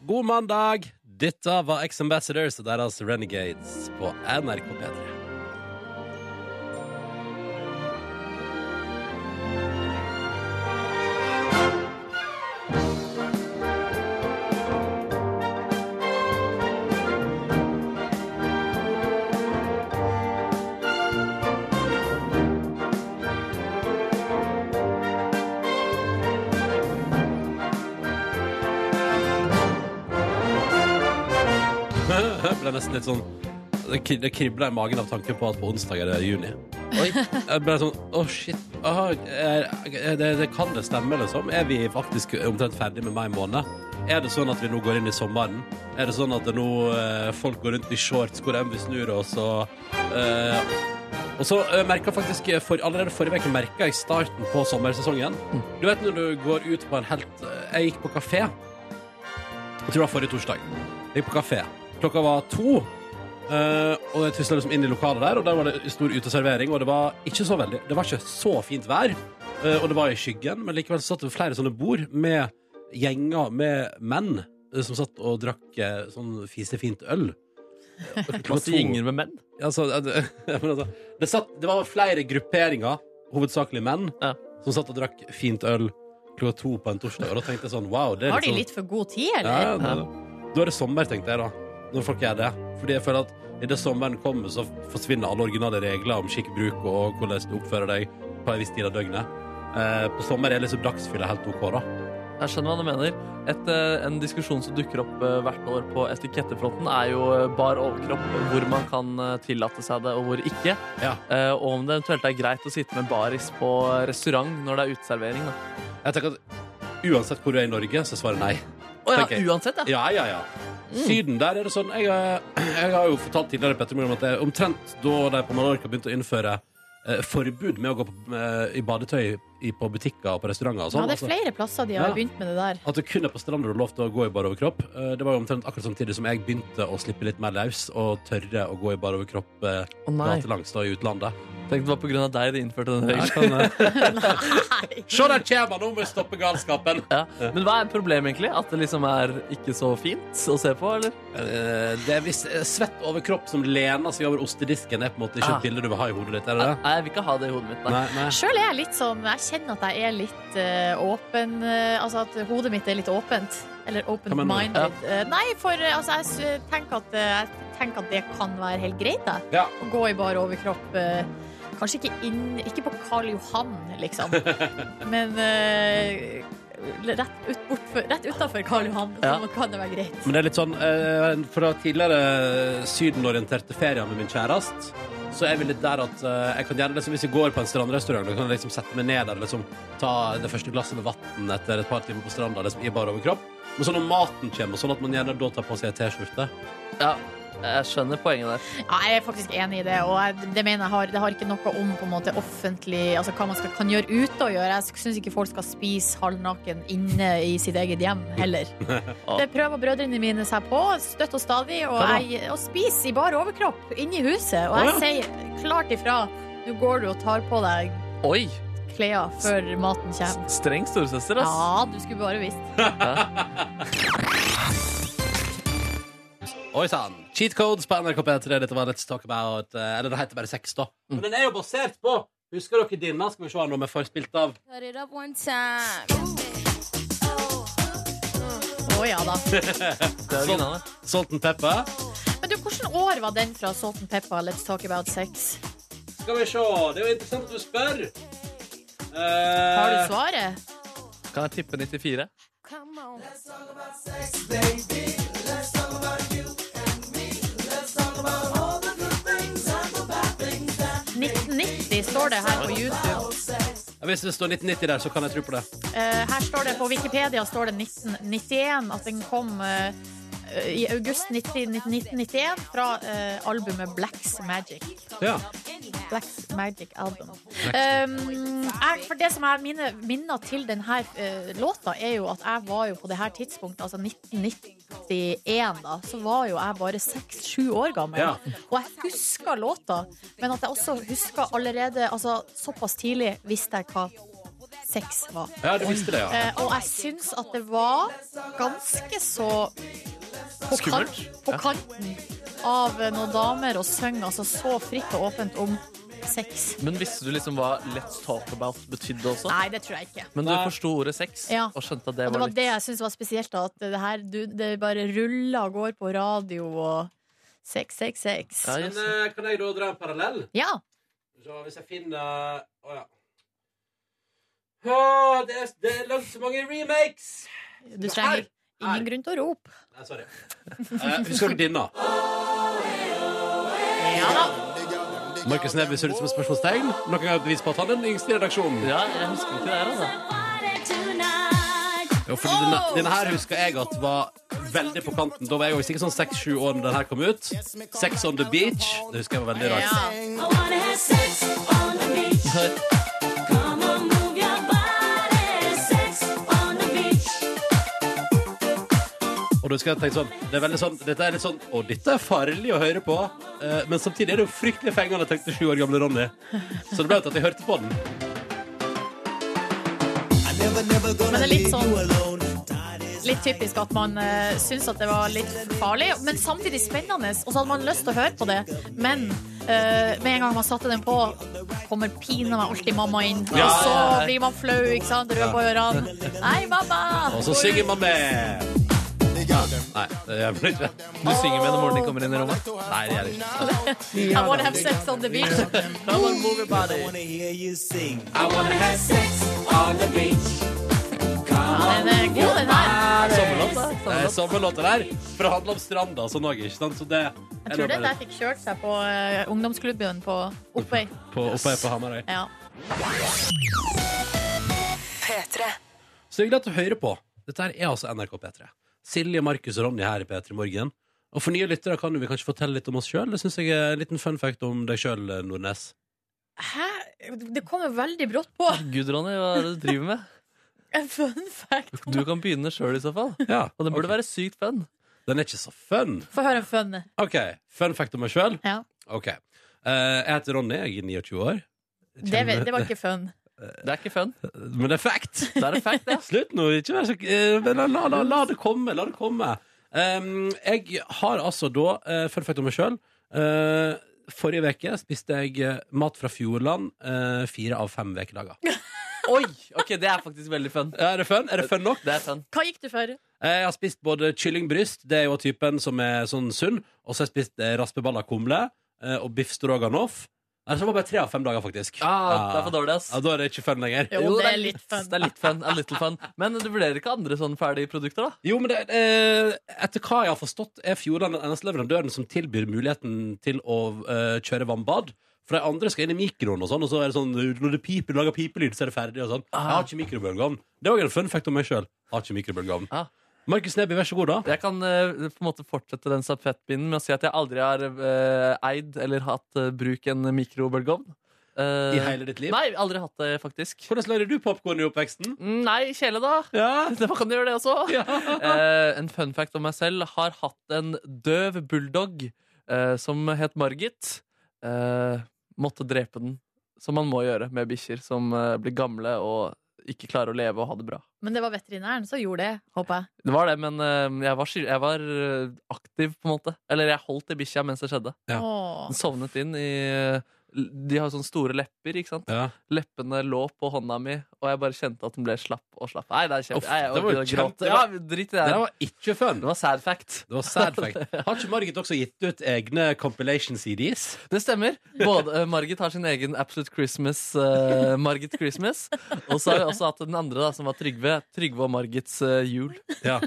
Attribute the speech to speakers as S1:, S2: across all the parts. S1: God mandag! Dette var Ex Ambassadors og deres Renegades på NRK P3. Jeg ble nesten litt sånn Det kri- det kribla i magen av tanken på at på onsdag er det juni. Oi. Jeg ble sånn Å, shit. Aha, er, er, det, det kan det stemme, liksom? Er vi faktisk omtrent ferdig med mai måned? Er det sånn at vi nå går inn i sommeren? Er det sånn at det nå eh, folk går rundt i shorts hvor enn vi snur oss, og eh, og så eh, merket jeg faktisk eh, for, Allerede forrige uke merket jeg starten på sommersesongen. Du vet når du går ut på en helt eh, Jeg gikk på kafé. Jeg tror det var forrige torsdag. Jeg gikk på kafé. Klokka var to. eh, og jeg tusla liksom inn i lokalet der, og der var det stor uteservering. Og det var ikke så veldig Det var ikke så fint vær, eh, og det var i skyggen, men likevel satt det flere sånne bord med gjenger med menn eh, som satt og drakk eh, sånn fisefint øl. Klokka
S2: Masse
S1: to.
S2: gjenger med menn.
S1: Altså, ja, det, ja, men altså, det, satt, det var flere grupperinger, hovedsakelig menn,
S2: Ja.
S1: som satt og drakk fint øl klokka to på en torsdag. Og da tenkte jeg sånn wow. Det er
S3: Har de
S1: liksom-
S3: litt for god tid,
S1: ja,
S3: eller?
S1: ja, det- Da er det sommer, tenkte jeg da. Når folk gjør det. Fordi jeg føler at idet sommeren kommer, så forsvinner alle originale regler om skikk og bruk og hvordan du oppfører deg på en viss tid av døgnet. Eh, på sommer er liksom dagsfylla helt OK, da.
S2: Jeg skjønner hva du mener. Et, eh, en diskusjon som dukker opp eh, hvert år på etikettefronten, er jo eh, bar overkropp, hvor man kan eh, tillate seg det, og hvor ikke.
S1: Ja.
S2: Eh, Og om det eventuelt er greit å sitte med baris på restaurant når det er uteservering. da.
S1: Jeg tenker at uansett hvor du er i Norge, så er svaret nei.
S2: Å ja,
S1: Tenker jeg.
S2: uansett, ja.
S1: Ja, ja, ja. Syden, der er det sånn Jeg, eh, jeg har jo fortalt tidligere Petter Moren om at det er omtrent da de på Mallorca begynte å innføre eh, forbud med å gå på, eh, i badetøy i, på butikker og på restauranter og
S3: Ja,
S1: sånn.
S3: det er
S1: altså,
S3: flere plasser de har
S1: Ja.
S3: begynt med det der.
S1: at du kun er på stranda og lov til å gå i bar overkropp. Eh, Det var jo omtrent akkurat samtidig som jeg begynte å slippe litt mer løs og tørre å gå i bar overkropp eh,
S2: Å nei.
S1: gatelangs da i utlandet. eh,
S2: Tenk det var på grunn av deg de innførte den regelen.
S3: Nei.
S1: Se der kommer han! Nå må vi stoppe galskapen!
S2: Ja. Men hva er problemet, egentlig? At det liksom er ikke så fint å se på, eller?
S1: Eh, Det er hvis eh, svett overkropp som lener seg over ostedisken, er på en måte ikke
S2: Ah.
S1: et bilde du vil ha i hodet ditt, er det
S2: Nei,
S1: det?
S2: jeg vil ikke ha det i hodet mitt. Nei.
S1: Nei, nei.
S3: Sjøl er jeg litt som Jeg kjenner at jeg er litt eh, åpen eh, Altså at hodet mitt er litt åpent. Eller
S1: mener
S3: open-minded. Eh, nei, for eh, altså, jeg s- tenker at, eh, jeg tenker at det kan være helt greit, jeg.
S1: Ja.
S3: Å gå i bar overkropp. eh, kanskje ikke inn Ikke på Karl Johan, liksom. Men eh, rett, ut, bortfor- rett utenfor Karl Johan
S2: Ja.
S3: så kan det være greit.
S1: Men det er litt sånn eh, Fra tidligere sydenorienterte ferier med min kjærest Så er vi litt der at eh, Jeg kan gjerne liksom Hvis jeg går på en strandrestaurant Da kan jeg liksom sette meg ned der og Liksom ta det første glasset med vatten Etter et par timer på stranda Liksom i bare overkropp Men sånn når maten kommer Sånn at man gjerne da tar på seg en t-skjorte
S2: Ja, jeg skjønner poenget der.
S3: Ja, jeg er faktisk enig i det, og jeg, det mener jeg har, det har ikke noe om på en måte offentlig Altså hva man skal, kan gjøre ute og gjøre. Jeg syns ikke folk skal spise halvnaken inne i sitt eget hjem heller. Det prøver brødrene mine seg på, støtt og stadig, og,
S1: Hva da?
S3: jeg, og spiser i bar overkropp inne i huset. Og
S1: Å,
S3: jeg
S1: ja.
S3: sier klart ifra. Nå går du og tar på deg
S2: Oi!
S3: klær før maten kommer.
S2: s- Streng storesøster, ass.
S3: Ja, du skulle bare visst.
S1: Oi sann. Cheat codes på NRK P3. Dette var Let's Talk About eh, Eller det heter bare sex, da. Men den er jo basert på Husker dere denne? Skal vi se her nå om jeg får spilt av.
S3: Å ja da.
S2: Det er originale.
S1: Salt and Pepper.
S3: Men du, hvilket år var den fra Salt and Pepper, Let's Talk About Sex?
S1: Skal vi se. Det er jo interessant at du spør.
S3: Har
S1: Eh.
S3: du svaret?
S2: Kan jeg tippe 94?
S3: Ni- 1990 står det her på YouTube.
S1: Hvis det står 1990 der, så kan jeg tro på det.
S3: Eh, her står det på Wikipedia står det 1991 at den kom eh, i august 90, 1991 fra eh, albumet Blacks Magic.
S1: Ja.
S3: Blacks Magic Album. Um, jeg, for det som er mine minner til denne låta, er jo at jeg var jo på det her tidspunktet, altså 1991, da, så var jo jeg bare seks-sju år gammel.
S1: Ja.
S3: Og jeg husker låta, men at jeg også husker allerede altså, såpass tidlig visste jeg hva sex var.
S1: Ja, du visste det, ja.
S3: Eh, og jeg syns at det var ganske så på
S2: Skummelt.
S3: kant- På kanten av eh, noen damer å synge altså så fritt og åpent om sex.
S2: Men visste du liksom hva Let's Talk About betydde også?
S3: Nei, det tror jeg ikke.
S2: Men du
S1: Nei.
S2: forsto ordet sex
S3: Ja.
S2: og skjønte at det
S3: Og det
S2: var
S3: var
S2: litt
S3: det jeg syns var spesielt, da, at det her du, det bare ruller og går på radio og sex, sex, sex.
S2: Ja,
S1: Men
S2: yes.
S1: eh, kan jeg da dra en parallell?
S3: Ja.
S1: Så hvis jeg finner Å ja. Å, det, er, det er langt så mange remakes!
S3: Du trenger
S1: Her.
S3: ingen grunn til å rope.
S1: Nei, sorry. Eh, husker dere denne?
S3: Ja da.
S1: Markus Neby ser ut som et spørsmålstegn. Noe er et bevis på at han er den yngste i redaksjonen.
S2: ja, jeg husker ikke det her, altså.
S1: Jo, fordi denne, denne her husker jeg at var veldig på kanten. Da var jeg jo sikkert sånn seks-sju år da den her kom ut. Sex on the beach. Det husker jeg var veldig rart.
S3: Ja.
S1: Og da skal jeg tenke sånn, det er veldig sånn Dette er litt sånn Å, dette er farlig å høre på. Eh, men samtidig er det jo fryktelig fengende, tenkte sju år gamle Ronny. Så det ble til at jeg hørte på den.
S3: Men det er litt sånn Litt typisk at man uh, syns at det var litt farlig, men samtidig spennende. Og så hadde man lyst til å høre på det, men eh, med en gang man satte den på, kommer pinadø meg alltid mamma inn.
S1: Ja.
S3: Og så blir man flau, ikke sant? Rød på ørene. Nei, mamma!
S1: Og så synger man med. Nei, det gjør man ikke.
S2: Du synger med når moren din kommer inn i rommet.
S1: Nei, det gjør jeg ikke.
S3: I wanna have sex on the beach. Ja, den er god, den her.
S1: Sommerlåt, da. Det er sommerlåter der. For det handler om stranda og sånn òg, ikke sant? Så det
S3: Jeg tror den der fikk kjørt seg på eh, ungdomsklubben på Oppøy.
S1: på, oppe her på Hamarøy.
S3: Ja.
S1: Så hyggelig at du hører på. Dette her er altså NRK P3. Silje, Markus og Ronny her i P3 Morgen. Og for nye lyttere kan jo vi kanskje fortelle litt om oss sjøl. Det syns jeg er en liten fun fact om deg sjøl, Nordnes.
S3: Hæ? Det kommer veldig brått på.
S2: Gud, Ronny, hva er det du driver med?
S3: En fun fact.
S2: Du kan begynne sjøl i så fall.
S1: Ja,
S2: Og den burde
S1: ok.
S2: være sykt fun.
S1: Den er ikke så fun.
S3: Få høre en fun.
S1: OK, fun fact om meg sjøl.
S3: Ja.
S1: OK. Eh, jeg heter Ronny, jeg er 29 år.
S3: Det, det var ikke fun.
S2: Det er ikke fun.
S1: Men det er fact!
S2: Det er en fact, det.
S1: Slutt nå, ikke vær så eh, men la, la, la, la det komme, la det komme. Ehm, jeg har altså da, uh, fun fact om meg sjøl eh, Forrige uke spiste jeg eh, mat fra Fjordland eh, fire av fem ukedager.
S2: Oi! Ok, det er faktisk veldig fun.
S1: Er det fun? Er det fun nok?
S2: Det er fun.
S3: Hva gikk du for?
S1: Eh, Jeg har spist både kyllingbryst, det er jo typen som er sånn sunn, og så har jeg spist eh, raspeballa kumle eh, og biff stroganoff. Nei, så var det bare tre av fem dager, faktisk.
S2: Ah, det er for dårlig, ass.
S1: Ja, Da er det ikke fun lenger.
S3: Jo, det er litt fun.
S2: Det er litt fun, a little fun. Men du vurderer ikke andre sånne ferdige produkter, da?
S1: Jo, men det, eh, etter hva jeg har forstått, er Fjordland den eneste leverandøren som tilbyr muligheten til å eh, kjøre vannbad. For de andre skal inn i mikroen, og sånn, og så er det sånn når det piper, du lager pipelyd, så er det ferdig. og sånn.
S2: Ah.
S1: Jeg har ikke mikrobølgeovn. Det er òg en fun fact om meg sjøl. Har ikke mikrobølgeovn.
S2: Ah.
S1: Markus Neby, vær så god, da.
S2: Jeg kan eh, på en måte fortsette den stafettpinnen med å si at jeg aldri har eh, eid eller hatt eh, bruk en mikrobølgeovn. Eh,
S1: I hele ditt liv.
S2: Nei, aldri hatt det, faktisk.
S1: Hvordan lagde du popkorn i oppveksten?
S2: Mm, Nei, kjele, da.
S1: Ja.
S2: Da kan du gjøre det også. Eh, en fun fact om meg selv har hatt en døv bulldog eh, som het Margit. Eh, måtte drepe den, som man må gjøre med bikkjer som eh, blir gamle og ikke klarer å leve og ha det bra.
S3: Men det var veterinæren som gjorde det, håper jeg.
S2: Det var det, men eh, jeg, var, sky- jeg var eh, aktiv, på en måte. Eller jeg holdt i bikkja mens det skjedde.
S1: Ja.
S3: Åh.
S2: Den sovnet inn i De har jo sånne store lepper, ikke sant?
S1: ja.
S2: Leppene lå på hånda mi, og jeg bare kjente at den ble slapp og slapp. Nei, det er
S1: Uff,
S2: kjempe... Nei, jeg
S1: det var jo
S2: orker å
S1: kjempe- det
S2: gråte. Ja, drit i det
S1: Det
S2: her.
S1: der var ikke fun.
S2: Det var sad fact.
S1: Det var sad fact. Har ikke Margit også gitt ut egne compilation CDs?
S2: Det stemmer. Både, eh, Margit har sin egen Absolute Christmas. eh, Margit Christmas Og så har vi også hatt den andre, da, som var Trygve. Trygve og Margits eh, jul.
S1: Ja.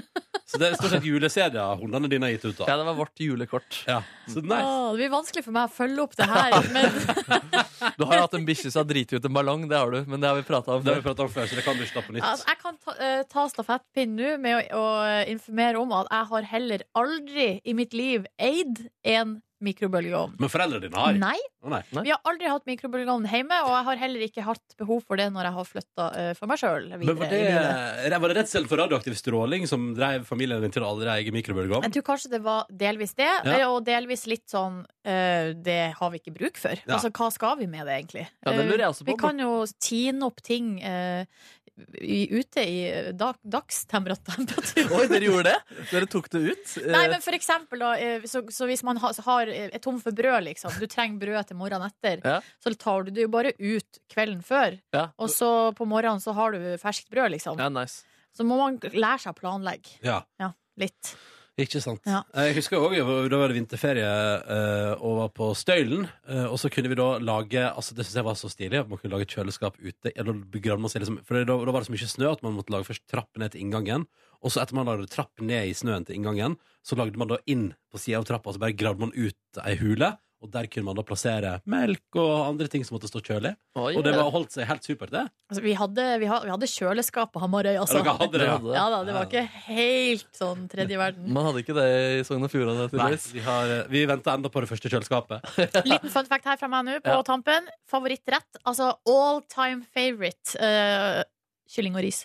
S1: Så det er stort sett juleserier hundene dine har gitt ut, da.
S2: Ja, det var vårt julekort.
S1: Ja. Så nice.
S3: Åh, det blir vanskelig for meg å følge opp det her. Men
S2: Du har jo hatt en bikkje som har driti ut en ballong, det har du. Men det har vi prata om
S1: Det har vi
S2: før.
S1: pratet om før, så det kan du ikke ta på nytt.
S3: altså, jeg kan ta, eh, ta stafettpinnen nå med å, å informere om at jeg har heller aldri i mitt liv eid en mikrobølgeovn.
S1: Men foreldrene dine har.
S3: Nei.
S1: Å, nei.
S2: Nei.
S3: Vi har aldri hatt mikrobølgeovn hjemme, og jeg har heller ikke hatt behov for det når jeg har flytta for meg sjøl
S1: Men var
S3: videre i livet.
S1: det, var det redselen for radioaktiv stråling som drev familien din til å aldri eie mikrobølgeovn?
S3: Jeg tror kanskje det var delvis det, eh,
S1: Ja.
S3: og delvis litt sånn eh, Det har vi ikke bruk for.
S1: Ja.
S3: Altså, hva skal vi med det, egentlig?
S2: Ja, det lurer jeg også på.
S3: Vi kan jo tine opp ting eh, i, ute i eh, dag, dagstemperatur.
S2: Oi, dere gjorde det? Dere tok det ut? Eh,
S3: Nei, men for eksempel, da, eh, så, så hvis man har, har eh, er tom for brød, liksom, du trenger brød til morgenen etter,
S2: Ja.
S3: så tar du det jo bare ut kvelden før,
S2: Eh, ja.
S3: og så på morgenen så har du ferskt brød, liksom.
S2: ja, nice.
S3: Så må man lære seg å planlegge.
S1: Ja,
S3: Ja, litt.
S1: ikke sant.
S3: Ja.
S1: Jeg husker òg da var det vinterferie eh, og var på Støylen. eh, og så kunne vi da lage altså Det synes jeg var så stilig. At man kunne lage et kjøleskap ute. Eller begravde man seg liksom, for det, da, da var det så mye snø at man måtte lage først trapp ned til inngangen. Og så etter man lagde trapp ned i snøen til inngangen, så lagde man da inn på sida av trappa. Så bare gravde man ut ei hule, og der kunne man da plassere melk og andre ting som måtte stå kjølig.
S2: Oi,
S1: Og det var, holdt seg helt supert, det.
S3: Altså, vi, hadde, vi, hadde, vi hadde kjøleskap på Hamarøy, altså.
S1: dere hadde det, ja.
S3: Ja da, det var ikke helt sånn tredje verden.
S2: Eh, Man hadde ikke det i Sogn og Fjordane.
S1: Nei,
S2: tydeligvis.
S1: vi, har, eh, vi venter enda på det første kjøleskapet.
S3: Liten fun fact her fra meg nå på
S2: Ja.
S3: tampen. Favorittrett, altså all time favorite. eh, kylling og ris.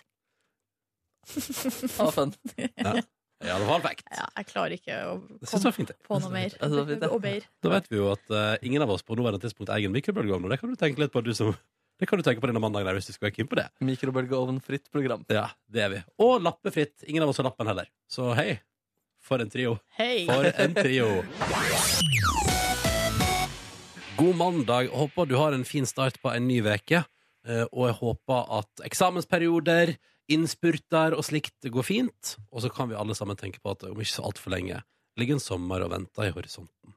S2: Ah, fun.
S1: I alle fall vekt.
S3: Ja, jeg klarer ikke å
S1: Det synes
S3: komme
S1: jeg var fint. jeg.
S3: på noe mer.
S2: Ja, det var fint, ja.
S3: Og mer.
S1: Da vet vi jo at eh, ingen av oss på nåværende tidspunkt eier en mikrobølgeovn. Og det kan du tenke litt på, du som Det kan du tenke på denne mandagen der, hvis du skulle være keen på det.
S2: Mikrobølgeovnfritt program.
S1: Ja, det er vi. Og lappefritt. Ingen av oss har lappen heller. Så hei. For en trio.
S3: Hei.
S1: For en trio. God mandag. Håper du har en fin start på en ny veke. Eh, Og jeg håper at eksamensperioder, innspurter og slikt går fint. Og så kan vi alle sammen tenke på at om ikke så altfor lenge ligger en sommer og venter i horisonten.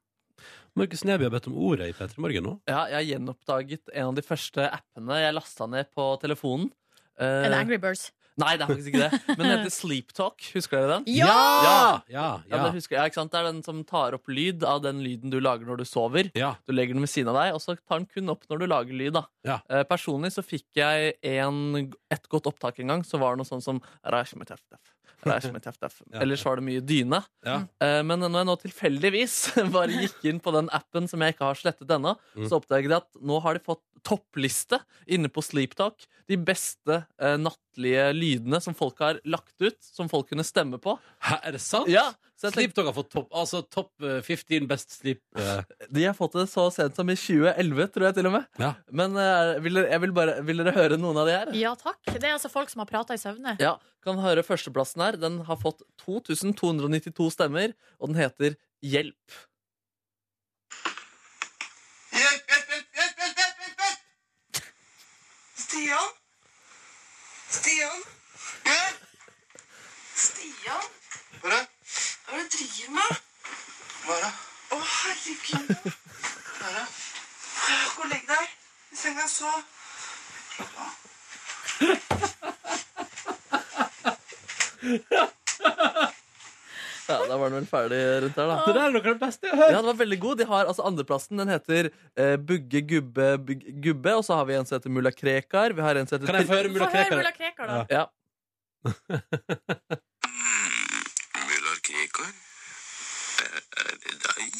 S1: Markus Neby har bedt om ordet i P3 Morgen nå.
S2: Ja, jeg har gjenoppdaget en av de første appene jeg lasta ned på telefonen. Eh,
S3: En Angry Birds.
S2: nei, det er faktisk ikke det. Men den heter Sleep Talk. Husker dere den?
S3: Ja!
S1: Ja! Ja,
S2: Ja,
S1: ja,
S2: det husker jeg, ikke sant? Det er den som tar opp lyd av den lyden du lager når du sover.
S1: ja.
S2: Du legger den ved siden av deg, og så tar den kun opp når du lager lyd. Da.
S1: Ja.
S2: Eh, personlig så fikk jeg en, et godt opptak en gang, så var det noe sånn som «Reish meg teff, teff. Reish meg teff, teff».
S1: Ja.
S2: Ellers var det mye dyne.
S1: Ja.
S2: Eh, men når jeg nå tilfeldigvis bare gikk inn på den appen som jeg ikke har slettet ennå,
S1: Mm.
S2: så oppdaget jeg at nå har de fått toppliste inne på Sleeptalk. De beste eh, nattlige lydene som folk har lagt ut, som folk kunne stemme på.
S1: Hæ, er det sant?
S2: Ja, så jeg tenkte,
S1: Sleep Dog har fått topp altså, topp, eh, 15 best sleep. eh,
S2: De har fått det så sent som i 2011, tror jeg til og med.
S1: Ja.
S2: Men eh, vil, dere, jeg vil, bare, vil dere høre noen av de her?
S3: Ja takk. Det er altså folk som har prata i søvne.
S2: Ja, kan høre førsteplassen her. Den har fått 2292 stemmer, og den heter Hjelp.
S4: Hjelp, hjelp, hjelp, hjelp, hjelp, hjelp, hjelp, hjelp! Stian? Stian? Hæ? Stian? Hva er det? Hva er det du driver med? Hva er det? Å, herregud. Hva er det? Gå og legg deg. I senga så. Slapp av.
S2: Ja, Da var den vel ferdig rundt her, da.
S1: Det der er noe av det beste jeg har hørt!
S2: Ja, den var veldig god. De har altså andreplassen. Den heter eh, Bugge Gubbe Bugg- Gubbe, og så har vi en som heter Mulla Krekar. Vi har en som heter
S1: Kan jeg få høre
S3: Få
S1: Mulla
S3: høre Mulla
S1: Krekar?
S3: Krekar, da.
S2: Ja.
S4: Muller Krekar? Er, er det deg?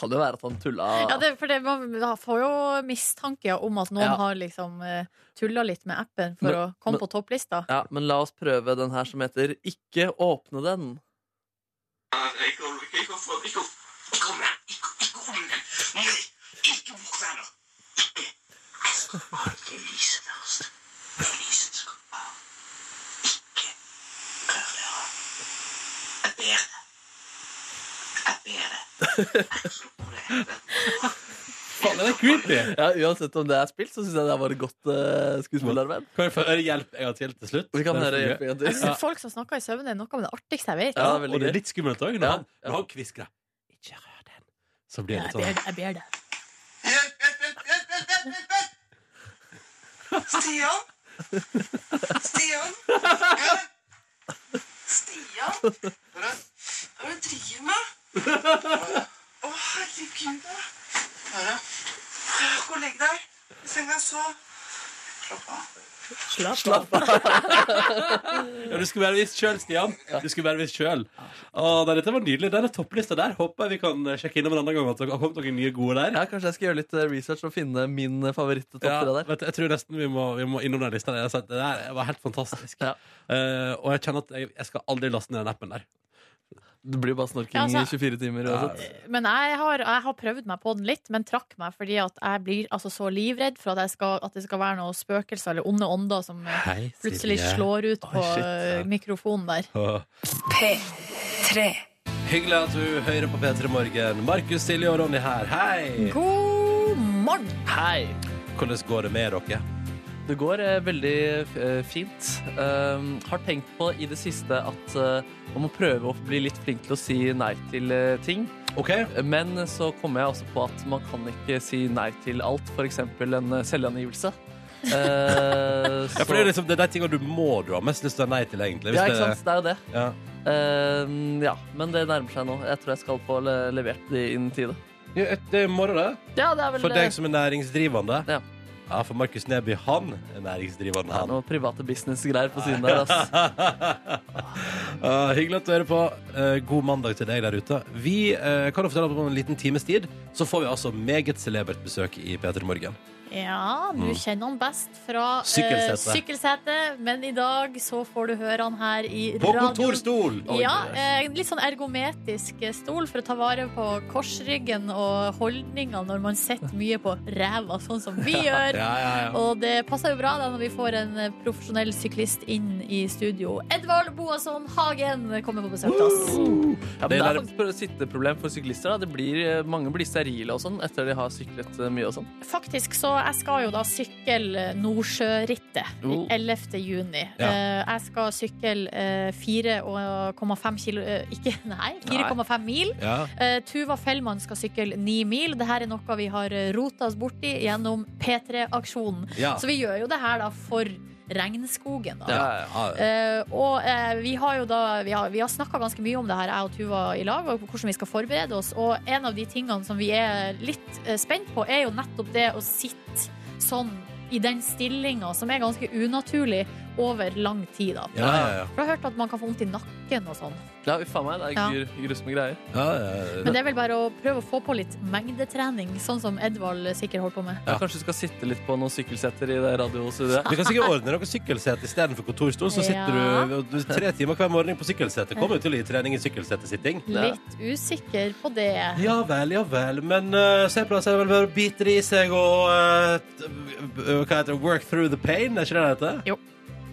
S2: Kan det jo være at han tulla
S3: Ja, det, for det, man får jo mistanke om at noen
S2: Ja.
S3: har liksom tulla litt med appen for
S2: Men-
S3: å komme
S2: men-
S3: på topplista.
S2: Ja, men la oss prøve den her som heter Ikke åpne den.
S4: Ikke om ikke om ikke om Ikke om deg. Ikke, ikke om deg. Nei, ikke våkn her nå. Ikke. Jeg skal aldri lyse deg, altså. Lyset skal av. Ikke rør dere. Jeg ber deg. Jeg ber deg. Jeg tror på det.
S1: Faen, den er creepy!
S2: Ja, Uansett om det er spilt, så syns jeg det var et godt eh, skuespillarbeid.
S1: Kan vi få høre hjelp en gang til til slutt?
S2: Vi kan
S1: Det er så
S2: høre
S1: gøy.
S2: hjelp en gang til.
S3: Altså, folk som snakker i søvne, er noe av det artigste jeg vet.
S2: Ja,
S1: Og det er
S2: veldig gøy.
S1: litt skummelt òg, når,
S2: Ja,
S1: han-
S2: ja.
S1: når han kvisker. Ikke rør den. Så blir
S3: Jeg
S1: det litt sånn
S3: ber, jeg ber deg.
S4: Hjelp, hjelp, hjelp, hjelp, hjelp, hjelp, hjelp, hjelp! Stian? Stian? Hæ? Stian? Hva er det hva er det du driver med? Hva er det? Å, herregud, da. Hva er det? Gå og legg deg. I senga så. Slapp av.
S2: Slapp av.
S1: ja, Du skulle være visst sjøl, Stian. Du skulle være visst sjøl. Å, nei, Dette var nydelig. Den er topplista der. Håper jeg vi kan eh, sjekke innom en annen gang at det har kommet noen nye gode der.
S2: Ja, kanskje jeg skal gjøre litt eh, research og finne min eh,
S1: Ja,
S2: favoritt-toppere der.
S1: vet, du, jeg tror nesten vi må, vi må innom den lista. der. Jeg sa at Det der var helt fantastisk.
S2: Ja.
S1: Eh, og jeg kjenner at jeg, jeg skal aldri laste ned den appen der.
S2: Det blir jo bare snorking
S3: Ja, altså-
S2: i 24 timer uansett.
S3: Men jeg har, jeg har prøvd meg på den litt, men trakk meg fordi at jeg blir altså, så livredd for at, jeg skal, at det skal være noen spøkelser eller onde ånder som eh,
S1: Hei,
S3: plutselig slår ut på
S2: shit,
S3: eh, mikrofonen der.
S5: P3.
S1: Hyggelig at du hører på P3 Morgen. Markus, Silje og Ronny her. Hei!
S3: God morgen!
S2: Hei!
S1: Hvordan går det med dere?
S2: Det går eh, veldig eh, fint. Um, har tenkt på i det siste at eh, man må prøve å bli litt flink til å si nei til eh, ting.
S1: OK?
S2: Men så kom jeg også på at man kan ikke si nei til alt, f.eks. en eh, selvangivelse. Eh,
S1: Ja,
S2: så-
S1: for det er sånn- liksom det er de tingene du må du har mest lyst til å si nei til, egentlig.
S2: ja, ikke sant? Det er jo det.
S1: Det, ja.
S2: Eh, ja, men det nærmer seg nå. Jeg tror jeg skal få le levert det innen tide.
S1: Ja, et- det er moro, det.
S2: Ja, det er vel
S1: For deg som er næringsdrivende.
S2: Ja.
S1: Ja, for Markus Neby, han er næringsdrivende,
S2: det er
S1: han.
S2: noe private business-greier på siden der. Ass.
S1: Ah, hyggelig at du hører på. Eh, god mandag til deg der ute. Vi eh, kan jo fortelle at om en liten times tid så får vi altså meget celebert besøk i P3 Morgen.
S3: Ja, du kjenner han best fra eh,
S1: Mm. Sykkelsetet.
S3: sykkelsetet, men i dag så får du høre han her i
S1: På
S3: radioen.
S1: kontorstol! Oi.
S3: Ja, eh, litt sånn ergometisk eh, stol for å ta vare på korsryggen og holdninga når man sitter mye på ræva, sånn som vi
S2: eh,
S3: gjør.
S1: Ja, ja, ja.
S3: Og det passer jo bra da når vi får en eh, profesjonell syklist inn i studio. Edvard Boasson Hagen kommer på besøk til oss.
S2: Ja, men
S1: Det
S2: det er
S1: der-
S2: faktisk et sitteproblem for syklister. Da. Det blir, eh, mange blir sterile og sånn etter de har syklet eh, mye og sånn.
S3: Faktisk så jeg skal jo da sykle Nordsjørittet i
S2: Oh.
S3: 11. juni.
S1: Ja.
S3: Eh, Jeg skal sykle eh, 4,5 kilo eh, Ikke, nei, 4,5 mil.
S1: ja.
S3: Eh, Tuva Fellmann skal sykle ni mil. Dette er noe vi har eh, rota oss borti gjennom P3-aksjonen.
S1: ja.
S3: Så vi gjør jo det her da for regnskogen. da.
S2: Ja,
S1: ja.
S3: Eh, og eh, vi har jo da Vi har, vi har snakka ganske mye om det her, jeg og Tuva i lag, og hvordan vi skal forberede oss. Og en av de tingene som vi er litt eh, spent på, er jo nettopp det å sitte sånn i den stillinga, som er ganske unaturlig, over lang tid. da.
S1: Ja, ja, ja.
S3: For jeg har hørt at man kan få vondt i nakken og sånn.
S2: Ja, uff a meg, det er
S3: Ja.
S2: gru, grusomme greier.
S1: ja, ja,
S3: Men
S1: ja.
S3: det er vel bare å prøve å få på litt mengdetrening, sånn som Edvald sikkert holdt på med.
S2: Ja. Kanskje du skal sitte litt på noen sykkelsetter i det radiostudioet.
S1: Vi kan sikkert ordne noe sykkelsete istedenfor kontorstol. Så sitter
S3: Ja.
S1: du- du tre timer hver morgen på sykkelsete. Kommer jo til å gi trening i sykkelsetesitting.
S2: Ja.
S3: Litt usikker på det.
S1: Ja vel, ja vel. Men eh, se på det, så er det vel bare å bite det i seg og eh, t- eh, Hva heter det? Work through the pain? Er ikke det det heter?
S3: Jo.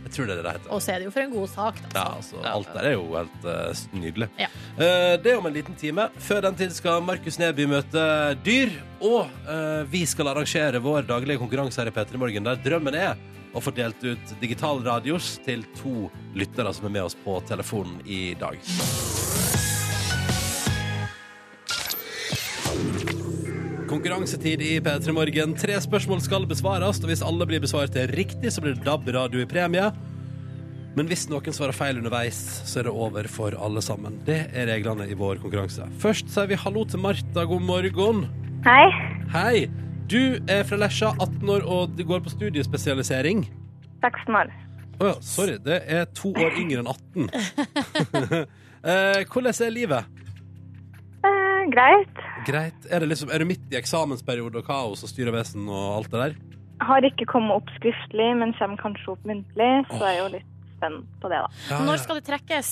S1: Jeg tror det er det det heter.
S3: Og så er det jo for en god sak, da.
S1: Ja, altså,
S2: Ja.
S1: alt der er jo helt eh, s- nydelig.
S3: Ja.
S1: Eh, det er om en liten time. Før den tid skal Markus Neby møte dyr. Og eh, vi skal arrangere vår daglige konkurranse her i P3 Morgen, der drømmen er å få delt ut digital radios til to lyttere som er med oss på telefonen i dag. Konkurransetid i P3 Morgen. Tre spørsmål skal besvares, og hvis alle blir besvart riktig, så blir det DAB-radio i premie. Men hvis noen svarer feil underveis, så er det over for alle sammen. Det er reglene i vår konkurranse. Først sier vi hallo til Martha. God morgen.
S6: Hei.
S1: Hei. Du er fra Lesja, 18 år, og du går på studiespesialisering.
S6: 16 år.
S1: Å ja, sorry. Det er to år yngre enn 18. eh, hvordan er livet?
S6: Eh, greit.
S1: Greit. Er, det liksom, er du midt i eksamensperiode og kaos og styrevesen og alt det der?
S6: Har ikke kommet opp skriftlig, men kommer kanskje opp muntlig, så er jeg jo litt spent på det, da.
S1: Ja,
S3: Når
S1: ja.
S3: skal det trekkes?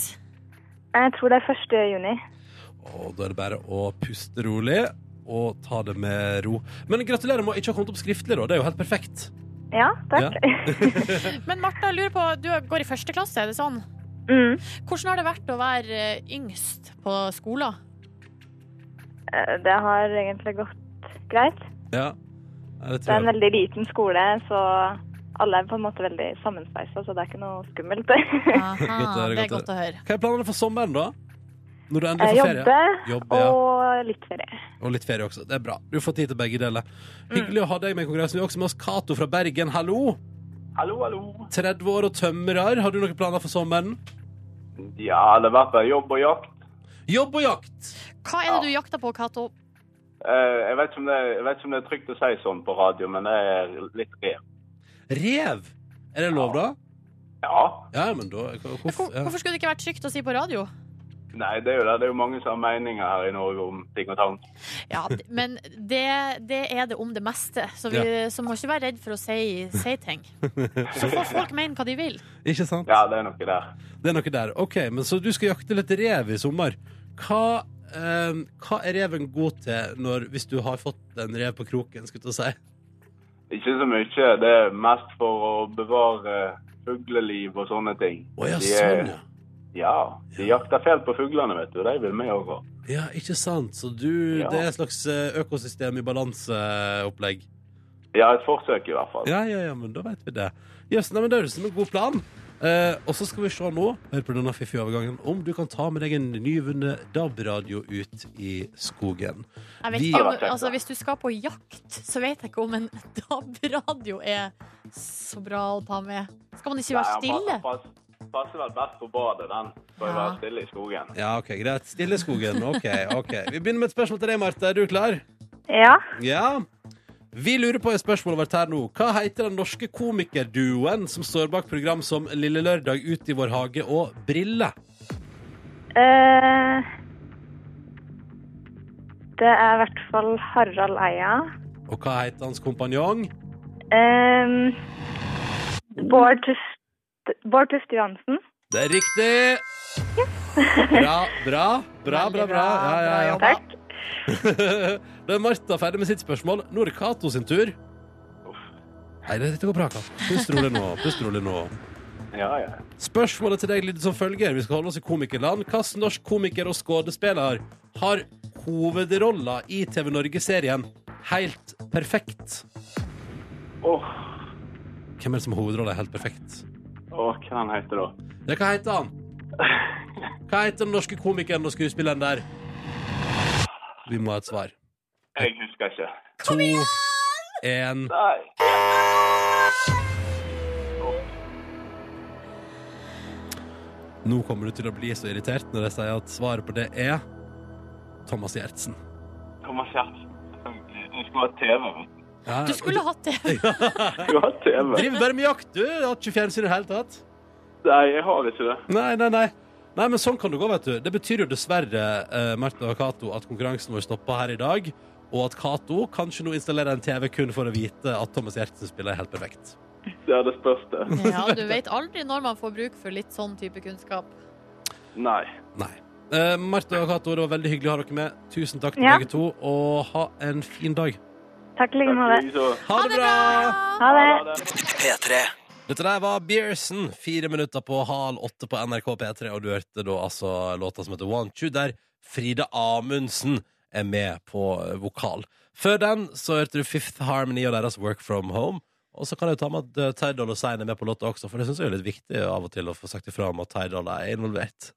S6: Jeg tror det er 1. juni.
S1: Og da er det bare å puste rolig og ta det med ro. Men gratulerer med å ikke ha kommet opp skriftlig, da. Det er jo helt perfekt.
S6: Ja, takk.
S3: Men Martha, jeg lurer på, du går i første klasse, er det sånn?
S6: mm.
S3: Hvordan har det vært å være eh, yngst på skolen?
S6: Eh, Det har egentlig gått greit.
S1: Ja. Ja, det
S6: Det er
S1: tror
S6: en
S1: jeg.
S6: veldig liten skole, så alle er på en måte veldig sammenspeisa, så det er ikke noe skummelt.
S1: Godt å
S3: Aha,
S1: høre,
S3: det er
S1: godt
S3: godt å høre.
S1: Hva er planene for sommeren, da? Når du endelig
S6: Jeg
S1: får ferie?
S6: jobber,
S1: Jobbe, ja.
S6: og litt ferie.
S1: Og litt ferie også. Det er bra. Du får tid til begge deler. Hyggelig å ha deg med i konkurransen. Vi har også med oss Cato fra Bergen. Hallo!
S7: Hallo, hallo.
S1: 30 år og tømrer. Har du noen planer for sommeren?
S7: Ja, det har vært bare jobb og jakt.
S1: Jobb og jakt!
S3: Hva er det du jakter på, Cato?
S7: Eh, Jeg vet, ikke om det, jeg vet ikke om det er trygt å si sånn på radio, men det er litt rev.
S1: Rev! Er det lov, da?
S7: Ja.
S1: Ja, men da Hvorfor?
S3: Hvor-
S1: Ja.
S3: Hvorfor skulle det ikke vært trygt å si på radio?
S7: Nei, det er jo det. Det er jo mange som har meninger her i Norge om ting og tang.
S3: Ja, d- men det, det er det om det meste, så, vi, så må ikke være redd for å si, si ting. Så får folk mene hva de vil.
S1: Ikke sant?
S7: Ja, det er noe der.
S1: Det er noe der. OK, men så du skal jakte litt rev i sommer. Hva, eh, hva er reven god til når, hvis du har fått en rev på kroken? Skulle jeg til å si.
S7: Ikke så mye. Det er mest for å bevare fugleliv og sånne ting.
S1: Å ja,
S7: De er-
S1: sånn, ja.
S7: Ja. De jakter fælt på fuglene, vet du. De vil vi òg ha.
S1: Ja, ikke sant. Så du,
S7: Ja.
S1: det er et slags eh, økosystem i balanseopplegg.
S7: Ja, et forsøk i hvert fall.
S1: Ja, ja, ja, men da vet vi det. Jøss, nei, men Det høres ut som en god plan. Eh, og så skal vi se nå hør på denne fiffige overgangen, om du kan ta med deg en nyvunnet DAB-radio ut i skogen.
S3: Jeg vet
S1: Vi-
S3: ikke om, altså, hvis du skal på jakt, så vet jeg ikke om en DAB-radio er så bra å ta med. Skal man ikke være
S7: Nei, han
S3: stille?
S7: Passer, passer, passer vel best på badet, den. Bør
S3: Ja.
S7: være stille i skogen.
S1: Ja, ok, Greit. Stille i skogen. Ok, ok. Vi begynner med et spørsmål til deg, Marte. Er du klar?
S6: Ja.
S1: Ja. Vi lurer på et spørsmål over her nå. Hva heter den norske komikerduoen som står bak program som Lille Lørdag, Ut i vår hage og Brille?
S6: Eh, det er i hvert fall Harald Eia.
S1: Og hva heter hans kompanjong?
S6: Eh, Bård Tufte Bård Tufte Johansen.
S1: Det er riktig! Bra, bra, bra, bra.
S3: Veldig
S1: bra. Ja, ja,
S3: bra
S1: ja.
S3: jobba.
S6: Takk.
S1: Da er Martha ferdig med sitt spørsmål. Nå er det Cato sin tur. Nei, det dette går bra, Cato. Pust rolig nå. Pust rolig nå.
S7: Ja, ja.
S1: Spørsmålet til deg lyder som følger. Vi skal holde oss i komikerland. Hvilken norsk komiker og skuespiller har hovedrolla i TV Norge-serien Helt perfekt?
S7: Åh,
S1: Hvem er det som har hovedrolla i Helt perfekt?
S7: åh, hva han heter da?
S1: Ja, hva heter han? Hva heter den norske komikeren og skuespilleren der? Vi må ha et svar.
S7: Jeg husker ikke.
S1: To, én
S7: Nei.
S1: Nå kommer du til å bli så irritert når jeg sier at svaret på det er Thomas Gjertsen.
S7: Thomas Gjertsen. Du skulle ha TV, vet du.
S1: Ja,
S3: Du skulle hatt det.
S7: Du skulle ha TV.
S1: Driver bare med jakt, du. Du Har ikke fjernsyn i det hele tatt.
S7: Nei, jeg har ikke det.
S1: Nei, nei, nei. Nei, men sånn kan det gå, vet du. Det betyr jo dessverre, uh, Martha og Cato, at konkurransen vår stopper her i dag. Og at Cato kanskje nå installerer en TV kun for å vite at Thomas Gjertsen spiller helt perfekt.
S7: Det er det spørste.
S3: Ja, du vet aldri når man får bruk for litt sånn type kunnskap.
S7: Nei.
S1: Nei. Uh, Martha og Cato, det var veldig hyggelig å ha dere med. Tusen takk til
S6: Ja.
S1: begge to, og ha en fin dag.
S6: Takk i like
S7: Takk
S6: måte.
S7: liksom.
S1: Ha det bra!
S6: Ha det.
S7: Ha det.
S1: Dette der var Beersen, fire minutter på hal åtte på NRK P3, og du hørte da altså låta som heter Want You, der Frida Amundsen er med på eh, vokal. Før den så hørte du Fifth Harmony og deres Work From Home. Og så kan jeg jo ta med at eh, Teidal og Sein er med på låta også, for det syns jeg er litt viktig av og til å få sagt ifra om at Teidal er involvert.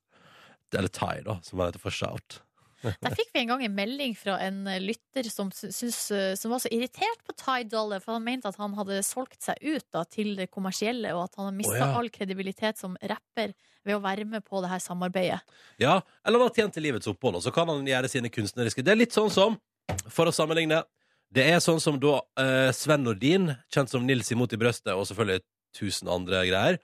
S1: Eller Tai, da, som han heter for Shout.
S3: Der fikk vi en gang en melding fra en eh, lytter som, sy- syns, eh, som var så irritert på Ty Dolle, for han mente at han hadde solgt seg ut da, til det kommersielle, og at han hadde mista
S1: Å, ja.
S3: all kredibilitet som rapper ved å være med på det her samarbeidet.
S1: Ja, eller han har tjent til livets opphold, og så kan han gjøre sine kunstneriske Det er litt sånn som, for å sammenligne Det er sånn som da eh, Sven Nordin, kjent som Nils imot i brøstet, og selvfølgelig tusen andre greier,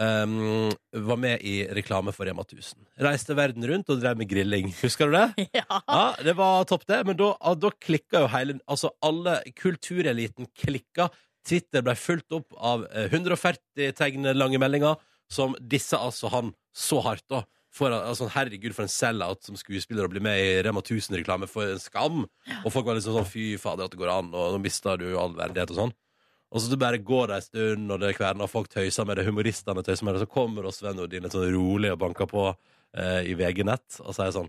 S1: ehm, var med i reklame for Rema 1000. Reiste verden rundt og drev med grilling. Husker du det?
S3: Ja.
S1: Ja, det var topp det, men da, ah, da klikka jo hele Altså alle kultureliten klikka. Twitter ble fulgt opp av eh, 140 tegn lange meldinger som disse altså han så hardt, da. For, at- altså, herregud, for en sellout som skuespiller å bli med i Rema 1000-reklame. For en skam! Og folk var liksom sånn fy fader at det går an, og nå mister du jo all verdighet og sånn. Og så du bare går det en stund, og det kverner, og folk tøyser med det, humoristene tøyser med det, så kommer da Sven Nordin litt sånn rolig og banker på eh, i VG Nett og sier sånn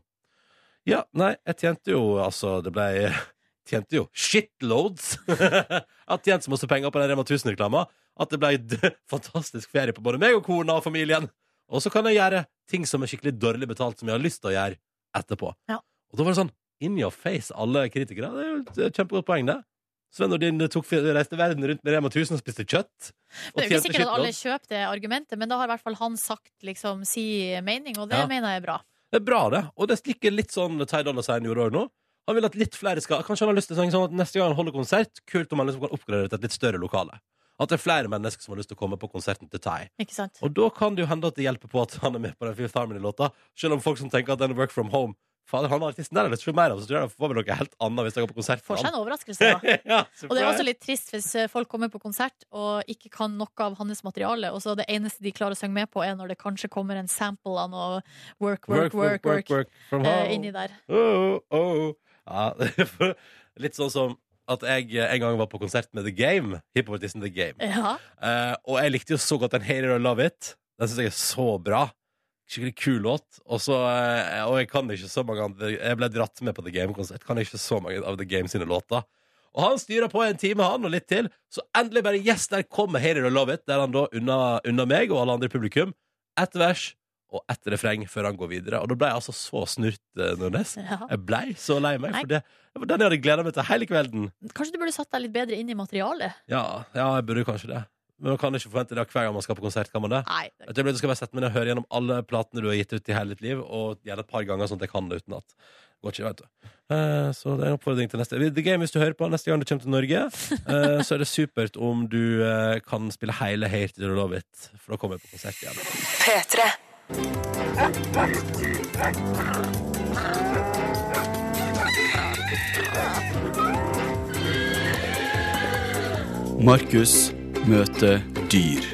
S1: ja, nei, jeg tjente jo Altså, det ble Tjente jo shitloads! jeg har tjent så masse penger på den Rema 1000-reklama at det ble d- fantastisk ferie på både meg og kona og familien. Og så kan jeg gjøre ting som er skikkelig dårlig betalt, som jeg har lyst til å gjøre etterpå.
S3: Ja.
S1: Og da var det sånn in your face, alle kritikere. Det er jo et kjempegodt poeng, det. Sven Nordin tok, reiste verden rundt med Rema 1000 og spiste kjøtt.
S3: Det er jo ikke sikkert at alle kjøper det argumentet, men da har i hvert fall han sagt liksom, si mening, og det
S1: Ja.
S3: mener jeg er bra.
S1: Det er bra, det. Og det slikker litt sånn Teidal og Sein gjorde òg nå. Han vil at litt flere skal Kanskje han har lyst til å synge sånn at neste gang han holder konsert, kult om han liksom kan oppgradere til et litt større lokale. At det er flere mennesker som har lyst til å komme på konserten til Tai.
S3: Ikke sant?
S1: Og da kan det jo hende at det hjelper på at han er med på den Fifth Harmony-låta, selv om folk som tenker at den er Work From Home, Fader, han artisten der har jeg lyst til å se mer av, så tror jeg det får vel noe helt annet hvis jeg går på konsert.
S3: Får
S1: med
S3: seg en overraskelse, da.
S1: han. ja,
S3: Og det er også litt trist hvis eh, folk kommer på konsert og ikke kan noe av hans materiale, og så det eneste de klarer å synge med på, er når det kanskje kommer en sample av noe work, work, work, work, eh,
S1: from home.
S3: inni der.
S1: Oh, oh. Ja, for- litt sånn som at jeg eh, en gang var på konsert med The Game, hiphopartisten The Game.
S3: Ja.
S1: Eh, og jeg likte jo så godt den Hate It or Love It. Den syns jeg er så bra. Skikkelig kul låt. Og, så, eh, og jeg kan ikke så mange andre Jeg ble dratt med på The Game-konsert. Kan ikke så mange av The Game sine låter. Og han styrer på en time, han, og litt til. Så endelig bare Yes, der kommer Hate It or Love It. Der han da unna, unna meg og alle andre i publikum. Ett vers og ett refreng før han går videre. Og da ble jeg altså så snurt, eh, Nordnes.
S3: ja.
S1: Jeg blei så lei meg,
S3: Nei.
S1: for det, det var den jeg hadde gleda meg til hele kvelden.
S3: Kanskje du burde satt deg litt bedre inn i materialet?
S1: Ja, ja, jeg burde kanskje det. Men man kan ikke forvente det hver gang man skal på konsert. kan man det?
S3: Nei.
S1: Jeg tror jeg skal bare sette meg ned og høre gjennom alle platene du har gitt ut i hele ditt liv, og gjerne et par ganger sånn at jeg kan det utenat. Går ikke, vet du. Eh, Så det er en oppfordring til neste The Game, hvis du hører på neste gang du kommer til Norge, eh, så er det supert om du eh, kan spille hele Hate It or Love It, for da kommer jeg på konsert igjen.
S5: Markus møter dyr.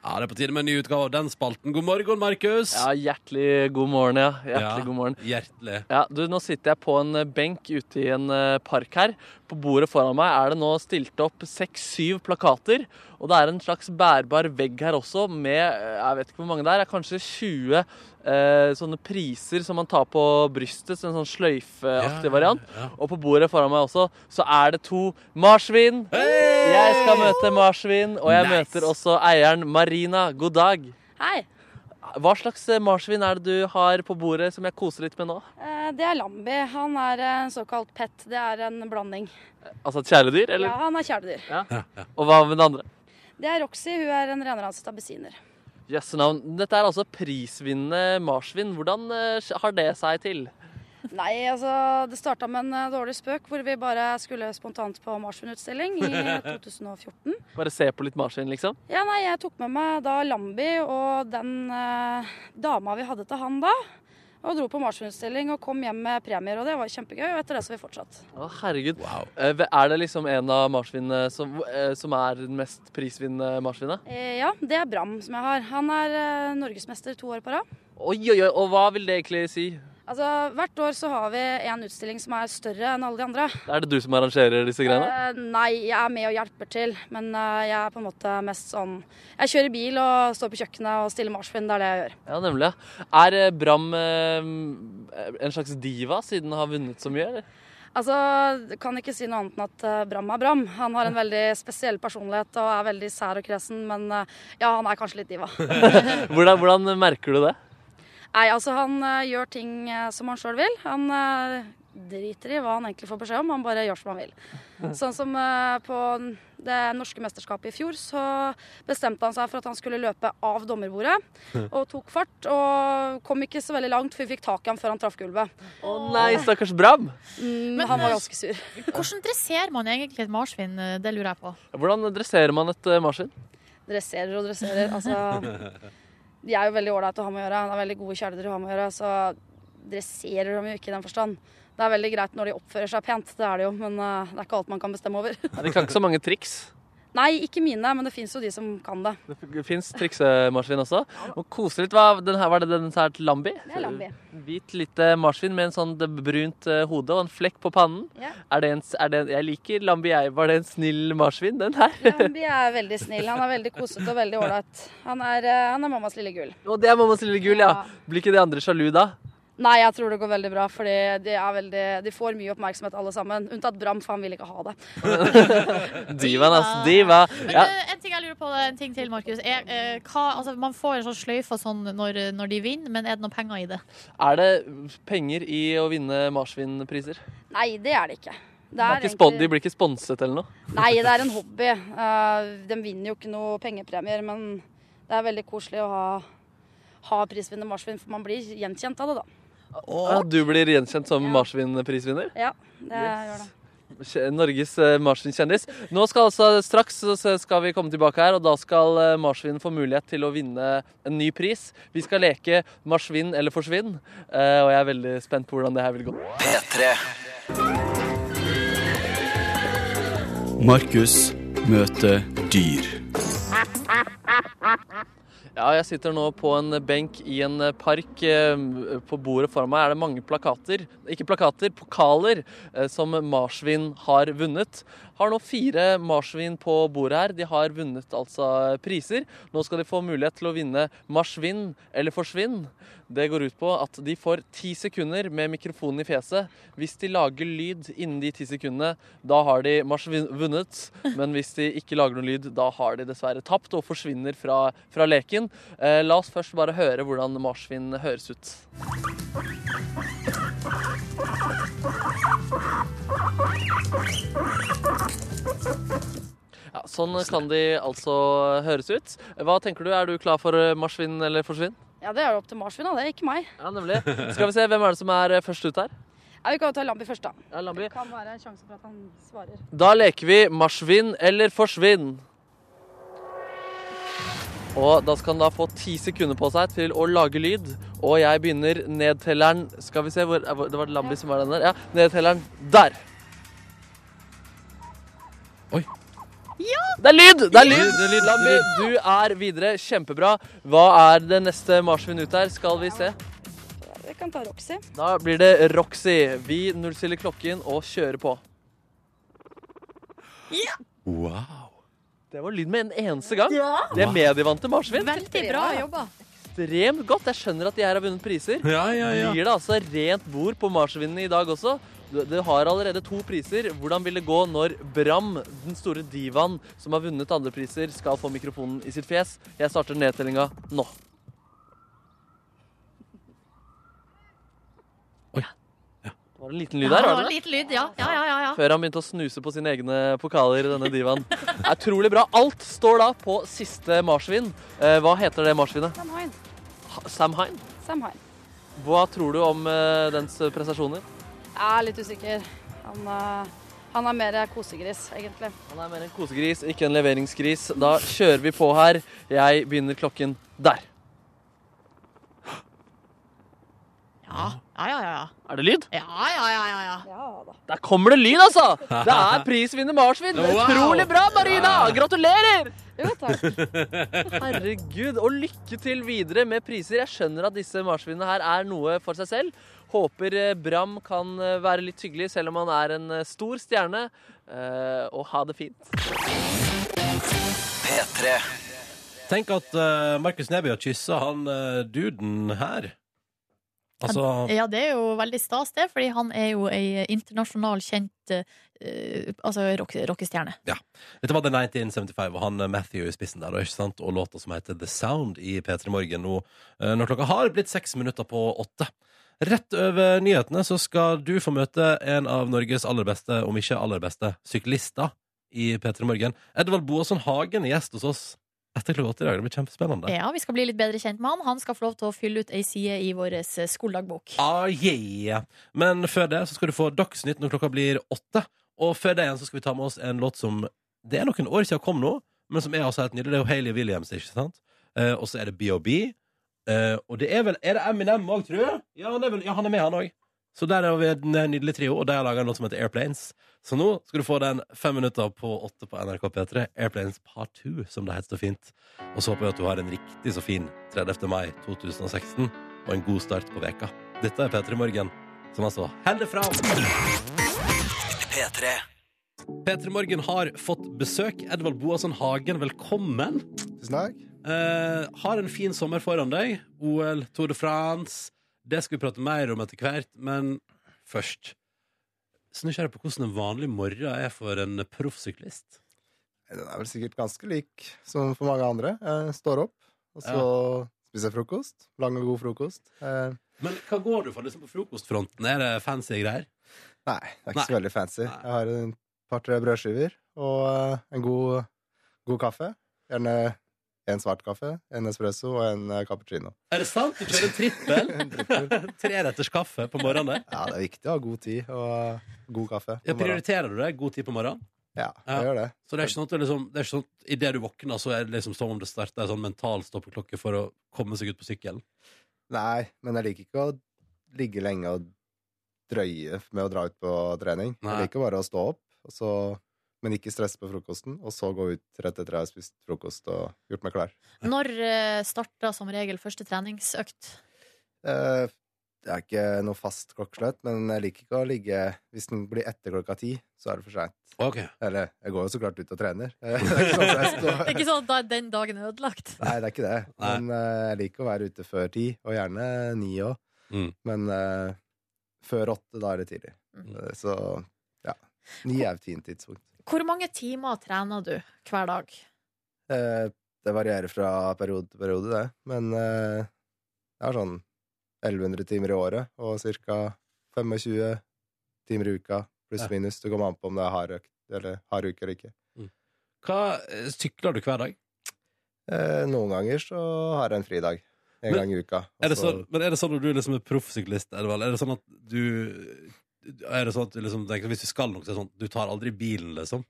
S1: Ja, det er på tide med en ny utgave av den spalten. God morgen, Markus!
S2: Ja, hjertelig god morgen, ja. Hjertelig
S1: Ja,
S2: god morgen.
S1: Hjertelig.
S2: Ja, du, Nå sitter jeg på en eh, benk ute i en eh, park her. På bordet foran meg er det nå stilt opp seks-syv plakater. Og det er en slags bærbar vegg her også, med eh, jeg vet ikke hvor mange det er, det er kanskje 20 eh, sånne priser som man tar på brystet, så en sånn sløyfeaktig
S1: Ja,
S2: variant.
S1: ja.
S2: Og på bordet foran meg også så er det to marsvin.
S1: Hey!
S2: Jeg skal møte marsvin, og jeg
S1: Nice.
S2: møter også eieren Marina. God dag.
S8: Hei.
S2: Hva slags eh, marsvin er det du har på bordet som jeg koser litt med nå?
S8: eh, Det er Lambi. Han er eh, en såkalt pet. Det er en blanding.
S2: Altså et kjæledyr, eller?
S8: Ja, han er kjæledyr.
S2: Og hva med den andre?
S8: Det er Roxy. Hun er en renranset abesiner.
S2: Jøsse navn. Dette er altså prisvinnende marsvin. Hvordan eh, har det seg til?
S8: Nei, altså, det starta med en eh, dårlig spøk hvor vi bare skulle spontant på marsvinutstilling i 2014.
S2: Bare se på litt marsvin, liksom?
S8: Ja, nei, jeg tok med meg da Lambi og den eh, dama vi hadde til han da. Og dro på marsvinutstilling og kom hjem med premier, og det var kjempegøy. Og etter det så har vi fortsatt.
S2: Å, herregud.
S1: Wow.
S2: Eh, Er det liksom en av marsvinene som, eh, som er den mest prisvinnende marsvinet?
S8: Eh, Ja, det er Bram som jeg har. Han er eh, norgesmester to år på rad.
S2: Oi, oi, oi. Og hva vil det egentlig si?
S8: Altså, Hvert år så har vi en utstilling som er større enn alle de andre.
S2: Er det du som arrangerer disse greiene?
S8: Eh, nei, jeg er med og hjelper til, men eh, jeg er på en måte mest sånn Jeg kjører bil og står på kjøkkenet og stiller marsvin. Det er det jeg gjør.
S2: Ja, nemlig. ja. Er eh, Bram eh, en slags diva siden han har vunnet så mye, eller?
S8: Altså, jeg Kan ikke si noe annet enn at eh, Bram er Bram. Han har en veldig spesiell personlighet og er veldig sær og kresen, men eh, ja, han er kanskje litt diva.
S2: Hvordan, hvordan merker du det?
S8: Nei, altså, han eh, gjør ting eh, som han sjøl vil. Han eh, driter i hva han egentlig får beskjed om, han bare gjør som han vil. Sånn som eh, på det norske mesterskapet i fjor, så bestemte han seg for at han skulle løpe av dommerbordet, og tok fart. Og kom ikke så veldig langt, for vi fikk tak i ham før han traff gulvet.
S2: Å nei, stakkars Bram.
S8: Mm,
S3: Men,
S8: han
S3: eh,
S8: var ganske sur.
S3: Hvordan dresserer man egentlig et marsvin? Eh, Det lurer jeg på.
S2: Hvordan dresserer man et eh, marsvin?
S8: Dresserer og dresserer. Altså, de er jo veldig ålreite å ha med å gjøre. Han er veldig gode kjæledyr å ha med å gjøre, så dresserer de jo ikke i den forstand. Det er veldig greit når de oppfører seg pent, det er det jo, men eh, det er ikke alt man kan bestemme over.
S2: Nei, Det kan ikke så mange triks.
S8: Nei, ikke mine, men det fins jo de som kan det.
S2: Det fins triksemarsvin også. Og koselig litt. Hva, den her, var det den som er et lambi?
S8: Det er Lambi.
S2: Hvit, lite marsvin med en sånn det brunt eh, hode og en flekk på pannen.
S8: Ja.
S2: Er det en, s- er det en, jeg liker lambi, jeg. Var det en snill marsvin, den her?
S8: Lambi er veldig snill. Han er veldig kosete og veldig ålreit. Han, er, eh, han er mammas lille gull.
S2: Og det er mammas lille gull, ja.
S8: Ja.
S2: Blir ikke de andre sjalu da?
S8: Nei, jeg tror det går veldig bra, for de, er veldig, de får mye oppmerksomhet alle sammen. Unntatt Bram, for han vil ikke ha det.
S2: Divaen, ass. Diva.
S3: Men
S2: Ja.
S3: eh, en ting jeg lurer på, en ting til, Markus. Er, eh, hva- altså, man får en sånn sløyfe og sånn når, når de vinner, men er det noen penger i det?
S2: Er det penger i å vinne marsvinpriser?
S8: Nei, det er det ikke. Det
S2: Det
S8: er
S2: er ikke
S8: egentlig-
S2: spon, de blir ikke sponset eller noe?
S8: Nei, det er en hobby. Eh, de vinner jo ikke noe pengepremier, men det er veldig koselig å ha, ha prisvinnende marsvin, for man blir gjenkjent av det, da.
S2: Ja, du blir gjenkjent som marsvinprisvinner?
S8: Ja, det gjør det.
S2: Kje- Norges eh, marsvinskjendis. Nå skal altså straks så s- skal vi komme tilbake her, og da skal eh, marsvin få mulighet til å vinne en ny pris. Vi skal leke marsvin eller forsvinn, eh, og jeg er veldig spent på hvordan det her vil gå.
S5: Markus møter dyr.
S2: Ja, jeg sitter nå på en benk i en park. Eh, På bordet foran meg er det mange plakater, ikke plakater, pokaler, eh, som marsvin har vunnet. Har nå fire marsvin på bordet her. De har vunnet altså priser. Nå skal de få mulighet til å vinne marsvin eller forsvinn. Det går ut på at de får ti sekunder med mikrofonen i fjeset. Hvis de lager lyd innen de ti sekundene, da har de marsvin vunnet. Men hvis de ikke lager noen lyd, da har de dessverre tapt og forsvinner fra, fra leken. Eh, la oss først bare høre hvordan marsvin høres ut. Ja, sånn kan de altså høres ut. Hva tenker du, er du klar for eh, marsvin eller forsvinn?
S8: Ja, det er jo opp til marsvin, da. Det er ikke meg.
S2: Ja, nemlig. Skal vi se, hvem er det som er eh, først ut her?
S8: Ja, vi kan jo ta Lambi først, da.
S2: Ja, Lambi.
S8: Det kan være en sjanse for at han svarer.
S2: Da leker vi marsvinn eller forsvinn. Og da skal han da få ti sekunder på seg til å lage lyd. Og jeg begynner nedtelleren Skal vi se, hvor, eh, hvor- det var Lambi som var den der. Ja, nedtelleren der.
S1: Oi.
S2: Det er lyd! Det er lyd!
S1: Det er lyd,
S2: Lambi,
S1: det
S2: du er videre. Kjempebra. Hva er det neste marsvin ut her? Skal vi se.
S8: Vi kan ta Roxy.
S2: Da blir det Roxy. Vi nullstiller klokken og kjører på.
S1: Wow.
S2: Det var lyd med en eneste gang. De er medievante marsvin.
S3: Veldig bra jobba.
S2: ekstremt godt. Jeg skjønner at de her har vunnet priser.
S1: Ja, ja, ja.
S2: Blir det altså rent bord på marsvinene i dag også? Du, du har allerede to priser. Hvordan vil det gå når Bram, den store divaen som har vunnet andre priser, skal få mikrofonen i sitt fjes? Jeg starter nedtellinga nå.
S1: Oi.
S2: Det var en liten lyd
S3: Ja,
S2: her,
S3: det
S2: var
S3: var
S2: det det?
S3: litt lyd, ja. Ja, ja, ja, ja.
S2: Før han begynte å snuse på sine egne pokaler, denne divaen. Det er Utrolig bra. Alt står da på siste marsvin. Eh, Hva heter det marsvinet?
S8: Sam Hine.
S2: Ha- Samhain?
S8: Sam Hine.
S2: Hva tror du om eh, dens prestasjoner?
S8: Jeg er litt usikker. Han, eh, han er mer kosegris, egentlig.
S2: Han er mer en kosegris, ikke en leveringsgris. Da kjører vi på her. Jeg begynner klokken der.
S3: Ja, ja, ja. ja.
S2: Er det lyd?
S3: Ja, ja, ja, ja, ja.
S8: Ja da.
S2: Der kommer det lyd, altså! Det er prisvinner marsvin. Utrolig bra, Marina! Gratulerer!
S8: Jo, takk.
S2: Herregud, og lykke til videre med priser. Jeg skjønner at disse marsvinene her er noe for seg selv. Håper eh, Bram kan eh, være litt hyggelig, selv om han er en eh, stor stjerne. Eh, Og ha det fint.
S1: Tenk at eh, Markus Neby har kyssa han eh, duden her. Altså
S3: Ja, det er jo veldig stas, det, fordi han er jo ei internasjonal kjent eh, eh, altså rock- rockestjerne.
S1: Dette var The 1975 og han eh, Matthew i spissen der, og ikke sant? Og låta som heter The Sound i P3 Morgen nå, eh, når klokka har blitt seks minutter på åtte. Rett over nyhetene så skal du få møte en av Norges aller beste, om ikke aller beste, syklister i P3 Morgen. Edvald Boasson Hagen er gjest hos oss etter klokka åtte i dag. Det blir kjempespennende.
S3: Ja, Vi skal bli litt bedre kjent med han. Han skal få lov til å fylle ut ei side i vår eh, skoledagbok.
S1: Ah, yeah. Men før det så skal du få Dagsnytt når klokka blir åtte. Og før det igjen så skal vi ta med oss en låt som det er noen år siden kom nå, men som er altså helt nydelig. Det er jo Hayley Williams, ikke sant? Eh, og så er det BOB. Eh, og det er vel Er det Eminem òg, tror jeg? Ja, han er, vel, ja, han er med, han òg. Så der er vi en nydelig trio, og de har laga en låt som heter Airplanes. Så nå skal du få den fem minutter på åtte på NRK P3. Airplanes Part 2, som det heter så fint. Og så håper jeg at du har en riktig så fin 30. mai 2016, og en god start på veka. Dette er P3 Morgen, som altså holder fra. P3 Morgen har fått besøk. Edvald Boasson Hagen, velkommen.
S9: Tusen takk.
S1: Eh, har en fin sommer foran deg. OL, Tour de France. Det skal vi prate mer om etter hvert, men først Så nysgjerrig på hvordan en vanlig morgen er for en proffsyklist.
S9: Den er vel sikkert ganske lik som for mange andre. Jeg står opp, og så spiser jeg frokost. Lang og god frokost. Eh,
S1: Men hva går du for liksom på frokostfronten? Er det fancy greier?
S9: nei, det er ikke så
S1: Nei.
S9: veldig fancy.
S1: Nei.
S9: Jeg har et par-tre brødskiver og eh, en god, god kaffe. Gjerne
S10: en svart kaffe, en espresso og en eh, cappuccino.
S1: Er det sant? Du kjører en trippel? Treretters kaffe på morgenen?
S10: Ja, det er viktig å ha god tid og god kaffe.
S1: Ja, prioriterer du det? God tid på morgenen?
S10: Ja,
S1: Ja.
S10: jeg gjør det.
S1: Så det er ikke sånn at du liksom, det er ikke sånn at idet du våkner, så er det liksom som om det starter en sånn mental stoppeklokke for å komme seg ut på sykkelen?
S10: Nei, men jeg liker ikke å ligge lenge og drøye med å dra ut på trening.
S1: Nei.
S10: Jeg liker bare å stå opp, og så, men ikke stresse på frokosten, og så gå ut rett etter jeg har spist frokost og gjort meg klar.
S3: Når eh, starter som regel første treningsøkt?
S10: Eh, Det er ikke noe fast klokkeslett, men jeg liker ikke å ligge Hvis den blir etter klokka ti, så er det for seint.
S1: Ok.
S10: Eller jeg går jo så klart ut og trener. Det er ikke sånn at jeg
S3: Det er
S10: står-
S3: ikke sånn at da er den dagen ødelagt.
S10: Nei, det er ikke det.
S1: Nei.
S10: Men eh, jeg liker å være ute før ti, og gjerne ni òg.
S1: Mm.
S10: Men eh, før åtte, da er det tidlig.
S3: Mm.
S10: Eh, Så ja. Ni er et fint tidspunkt.
S3: Hvor mange timer trener du hver dag?
S10: Eh, Det varierer fra periode til periode, det. Men eh, jeg har sånn 1100 timer i året, og ca. 25 timer i uka, pluss
S1: Ja.
S10: minus. Det kommer an på om det er hard økt eller hard uke eller ikke.
S1: Hva eh, sykler du hver dag?
S10: Eh, Noen ganger så har jeg en fridag. En
S1: Men
S10: gang i uka. og
S1: Er det
S10: så-
S1: sånn, men er det sånn når du liksom er proffsyklist, er det vel? Er det sånn at du Er det sånn at du liksom tenker hvis du skal noe, så er det sånn du tar aldri bilen, liksom?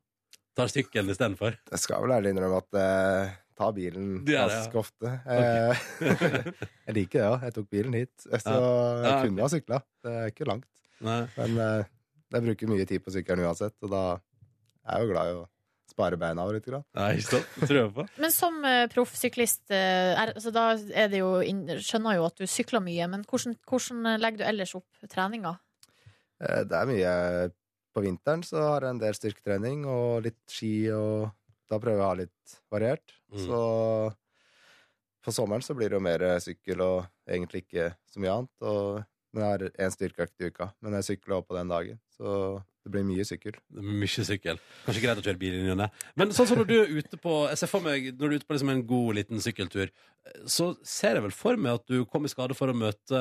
S1: Tar sykkelen istedenfor?
S10: Jeg skal vel ærlig innrømme at jeg tar bilen
S1: Det er det, ja.
S10: ganske ofte. Eh, jeg liker det òg. Jeg tok bilen hit, så jeg
S1: Ja, ok.
S10: kunne ha sykla. Det er ikke langt.
S1: Nei.
S10: Men eh, jeg bruker mye tid på sykkelen uansett, og da er jeg jo glad i å spare beina litt. Grann.
S1: Nei, ikke sant? Det tror jeg på.
S3: Men som eh, proffsyklist, eh, er- altså da er det jo inn- skjønner jeg jo at du sykler mye, men hvordan, hvordan legger du ellers opp treninga?
S10: Eh, det er mye På vinteren så har jeg en del styrketrening og litt ski, og da prøver jeg å ha litt variert.
S1: Mm.
S10: Så på sommeren så blir det jo mer sykkel og egentlig ikke så mye annet. Og men jeg har én styrkeøkt i uka, men jeg sykler også på den dagen. Så det blir mye sykkel.
S1: Det er Mye sykkel. Kanskje greit å kjøre bil inn i og ned. Men sånn som når du er ute på Jeg ser for meg når du er ute på liksom en god, liten sykkeltur, så ser jeg vel for meg at du kom i skade for å møte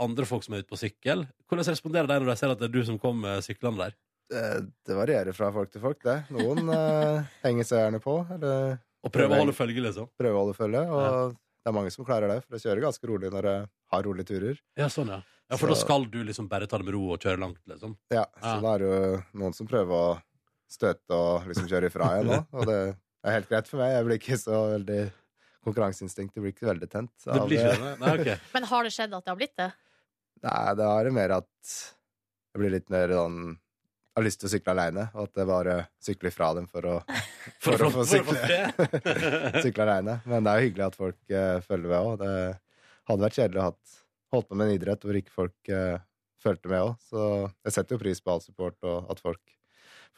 S1: andre folk som er ute på sykkel. Hvordan responderer de når de ser at det er du som kom eh, syklende der?
S10: Eh, Det varierer fra folk til folk, det. Noen eh, henger seg gjerne på, eller
S1: Og prøver å holde følge, liksom?
S10: prøver å holde følge. Og det er mange som klarer det, for jeg kjører ganske rolig når jeg har rolige turer.
S1: Ja, sånn, ja. Ja, For da skal du liksom bare ta det med ro og kjøre langt, liksom?
S10: Ja, Så
S1: Ja.
S10: da er det jo noen som prøver å støte og liksom kjøre ifra igjen nå, og det er helt greit for meg. Jeg blir ikke så veldig Konkurranseinstinktet blir ikke veldig tent.
S1: Det
S10: av
S1: blir ikke det? Nei, ok.
S3: Men har det skjedd at det har blitt det?
S10: Nei, det er mer at jeg blir litt mer sånn Jeg har lyst til å sykle aleine, og at jeg bare sykler fra dem for å,
S1: For,
S10: for å få
S1: for-
S10: sykle.
S1: for-
S10: sykle alene. Men det er jo hyggelig at folk eh, følger med òg. Det hadde vært kjedelig å hatt, holdt på med en idrett hvor ikke folk eh, fulgte med òg. Så jeg setter jo pris på all support og at folk,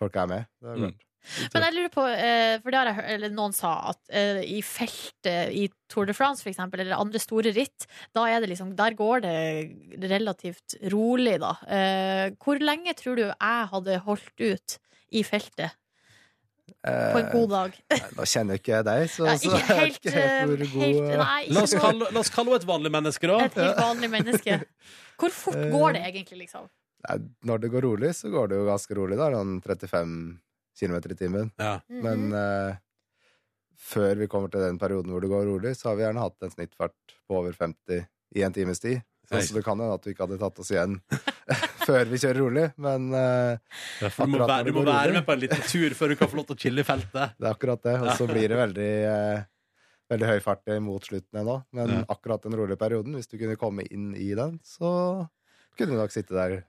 S10: folk er med. Det er
S1: Mm.
S10: klart.
S3: Men jeg lurer på, eh, for det har jeg hørt, eller noen sa at eh, i feltet i Tour de France for eksempel, eller andre store ritt, da er det liksom, der går det relativt rolig da. Eh, Hvor lenge tror du jeg hadde holdt ut i feltet på en god dag?
S10: Eh, nå kjenner jo ikke jeg deg, så,
S3: Nei,
S10: så
S3: ikke helt,
S10: jeg vet ikke
S3: eh,
S10: hvor god
S3: helt- nei,
S1: La oss
S3: ikke noe-
S1: kalle la oss kalle henne et vanlig menneske, da.
S3: et helt vanlig menneske. Hvor fort
S10: Eh.
S3: går det egentlig, liksom?
S10: nei, Når det går rolig, så går det jo ganske rolig. Da er det sånn 35 km i timen.
S1: Ja.
S3: Mhm.
S10: Men eh, før vi kommer til den perioden hvor det går rolig, så har vi gjerne hatt en snittfart på over 50 i en times tid. Så,
S1: Hei.
S10: så det kan hende at vi ikke hadde tatt oss igjen før vi kjører rolig, men eh,
S1: Du må, være,
S10: Akkurat når det
S1: du må
S10: går
S1: være
S10: rolig.
S1: med på en liten tur før du kan få lov til å chille i feltet.
S10: det er akkurat det. Og så blir det veldig, eh, veldig høy fart mot slutten ennå. Men
S1: Ja.
S10: akkurat den rolige perioden, hvis du kunne komme inn i den, så kunne du nok sitte der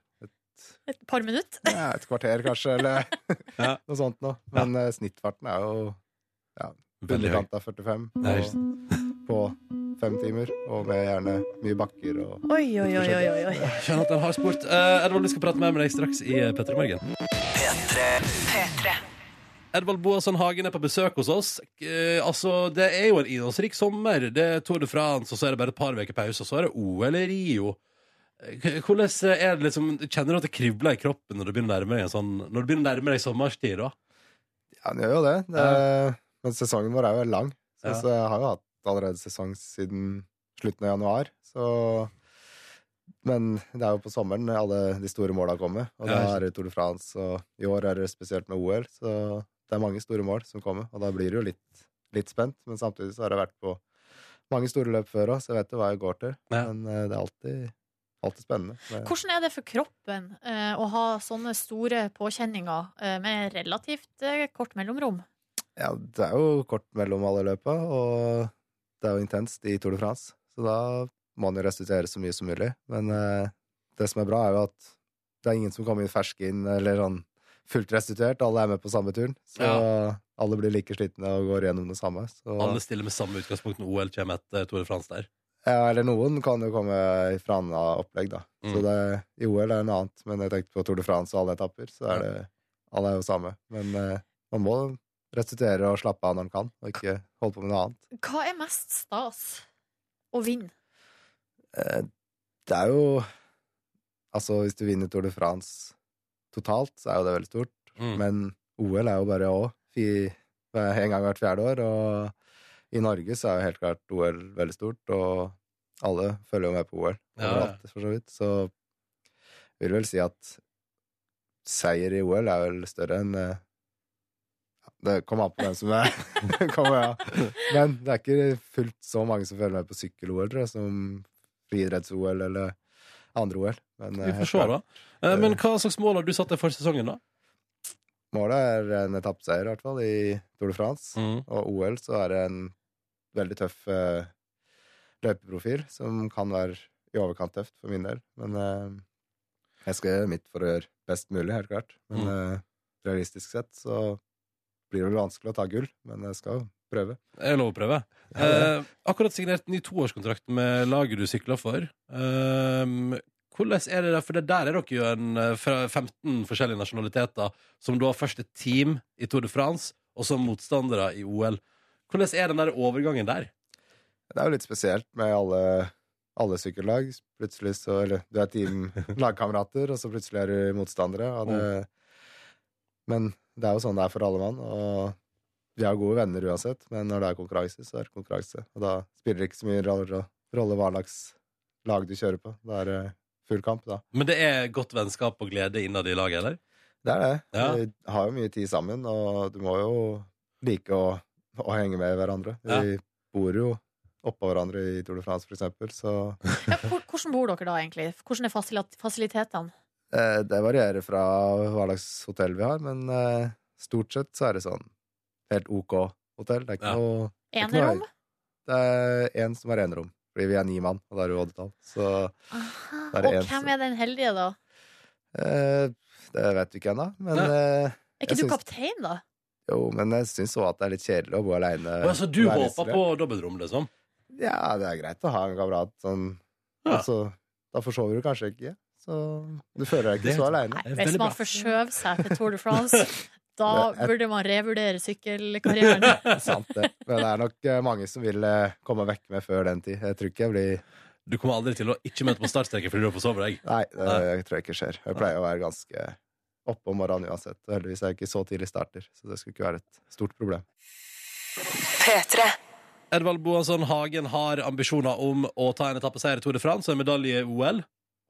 S3: Et par Eh, minutter?
S10: ja, et kvarter, kanskje, eller
S1: Ja.
S10: noe sånt noe. Men eh, snittfarten er jo underkant av 45
S1: Nei,
S10: og, på fem timer, og med gjerne mye bakker og
S3: Oi, oi, oi, oi, oi, oi.
S1: Skjønner at det er en hard sport. Eh, Edvald, vi skal prate mer med deg straks i eh, P3 Morgen. Edvald Boasson Hagen er på besøk hos oss. Eh, altså, Det er jo en innholdsrik sommer. Det er Tour de France, og så er det bare et par uker pause, og så er det OL i Rio. Eh, k- Hvordan er det liksom, Kjenner du at det kribler i kroppen når du begynner å nærme deg en sånn, når du begynner å nærme deg sommerstid? da?
S10: Ja, den gjør jo det. det Men sesongen vår er jo lang. Så,
S1: Ja.
S10: så jeg har jo hatt allerede sesong siden slutten av januar. Så Men det er jo på sommeren alle de store måla kommer. Og da
S1: Ja.
S10: er det Tour de France, og i år er det spesielt med OL. Så det er mange store mål som kommer, og da blir det jo litt,
S9: litt spent, men samtidig så har jeg vært på mange store løp før òg, så jeg vet jo hva jeg går til.
S1: Ja.
S9: Men eh, det er alltid, alltid spennende. Det-
S3: Hvordan er det for kroppen eh, å ha sånne store påkjenninger eh, med relativt eh, kort mellomrom?
S9: Ja, det er jo kort mellom alle løpa, og det er jo intenst i Tour de France. Så da må man jo restituere så mye som mulig. Men eh, det som er bra, er jo at det er ingen som kommer inn ferske inn eller sånn fullt restituert. Alle er med på samme turen, så alle blir like slitne og går gjennom det samme. Så,
S1: Alle stiller med samme utgangspunkt når OL kommer etter Tour de France der.
S9: ja, eller noen kan jo komme fra annet opplegg, da.
S1: Mm.
S9: Så det, i OL er det noe annet, men jeg tenkte på Tour de France og alle etapper, så er det alle er jo samme. Men eh, man må restituere og slappe av når man kan, og ikke holde på med noe annet.
S3: Hva er mest stas? Å vinne?
S9: Eh, Det er jo Altså, hvis du vinner Tour de France totalt, så er jo det veldig stort.
S1: Mm.
S9: Men OL er jo bare òg en gang hvert fjerde år. Og i Norge så er jo helt klart OL veldig stort, og alle følger jo med på OL
S1: Ja, ja.
S9: overalt, for så vidt. Så jeg vil vel si at seier i OL er vel større enn eh, ja, det kommer an på hvem som er kommer, ja. Men det er ikke fullt så mange som følger med på sykkel-OL, tror jeg, som friidretts-OL eller andre OL. Men eh,
S1: Vi
S9: helt
S1: får se,
S9: klart,
S1: da. Eh, Men hva slags mål har du satt deg for sesongen, da?
S9: målet er en etappeseier, i hvert fall, i Tour de France. Og OL så er det en veldig tøff eh, løypeprofil, som kan være i overkant tøft for min del. Men eh, jeg skal gjøre mitt for å gjøre best mulig, helt klart. Men eh, realistisk sett så blir det vel vanskelig å ta gull, men jeg skal jo prøve.
S1: Jeg lover å prøve. Eh, akkurat signert ny toårskontrakt med laget du sykler for. Ehm, hvordan er det der? For det der er dere jo en eh, fra 15 forskjellige nasjonaliteter, som da først er team i Tour de France, og så motstandere i OL. Hvordan er den der overgangen der?
S9: Det er jo litt spesielt med alle, alle sykkellag. Plutselig så Eller du er team lagkamerater, og så plutselig er du motstandere. Og det, Men det er jo sånn det er for alle mann. Og vi er gode venner uansett, men når det er konkurranse, så er det konkurranse. Og da spiller det ikke så mye rolle, rolle hva slags lag du kjører på. Da er det full kamp, da.
S1: Men det er godt vennskap og glede innad i laget, eller?
S9: Det er det.
S1: Ja.
S9: Vi har jo mye tid sammen, og du må jo like å, å henge med hverandre. Vi bor jo oppå hverandre i Tour de France, for eksempel, så
S3: Ja, hvor- hvordan bor dere da, egentlig? Hvordan er fasilat- fasilitetene?
S9: eh, det varierer fra hva slags hotell vi har, men eh, stort sett så er det sånn helt ok hotell. Det er ikke
S1: Ja.
S9: noe det er ikke noe-
S3: Enerom?
S9: Det er én som er enerom, fordi vi er ni mann, og da er det jo oddetall. Så
S3: Aha.
S9: Det er
S3: Og
S9: en
S3: hvem
S9: som-
S3: er den heldige, da?
S9: eh, det vet vi ikke ennå, men eh,
S3: Er
S9: Jeg
S3: ikke du
S9: syns-
S3: kaptein, da?
S9: jo, men jeg syns òg at det er litt kjedelig å bo aleine.
S1: Og altså, du håper på dobbeltrom, liksom?
S9: Ja, det er greit å ha en kamerat sånn.
S1: Ja.
S9: Altså, da forsover du kanskje ikke, så du føler deg ikke
S1: Det-
S9: så aleine.
S3: Nei,
S1: Det er
S3: hvis
S1: veldig
S3: man
S1: bra.
S3: forskjøver seg til Tour de France, da
S9: Det er-
S3: burde man revurdere sykkelkarrieren.
S9: Sant det. Men det er nok eh, mange som vil eh, komme vekk med før den tid. Jeg tror ikke jeg blir
S1: Du kommer aldri til å ikke møte på startstreken fordi du har forsovet deg.
S9: Nei, det
S1: Nei.
S9: jeg tror jeg ikke skjer. Jeg pleier å være ganske oppe om morgenen uansett. Og heldigvis er jeg ikke så tidlig starter, så det skulle ikke være et stort problem.
S1: Edvald Boasson Hagen har ambisjoner om å ta en etappeseier i Tour de France og en medalje i OL.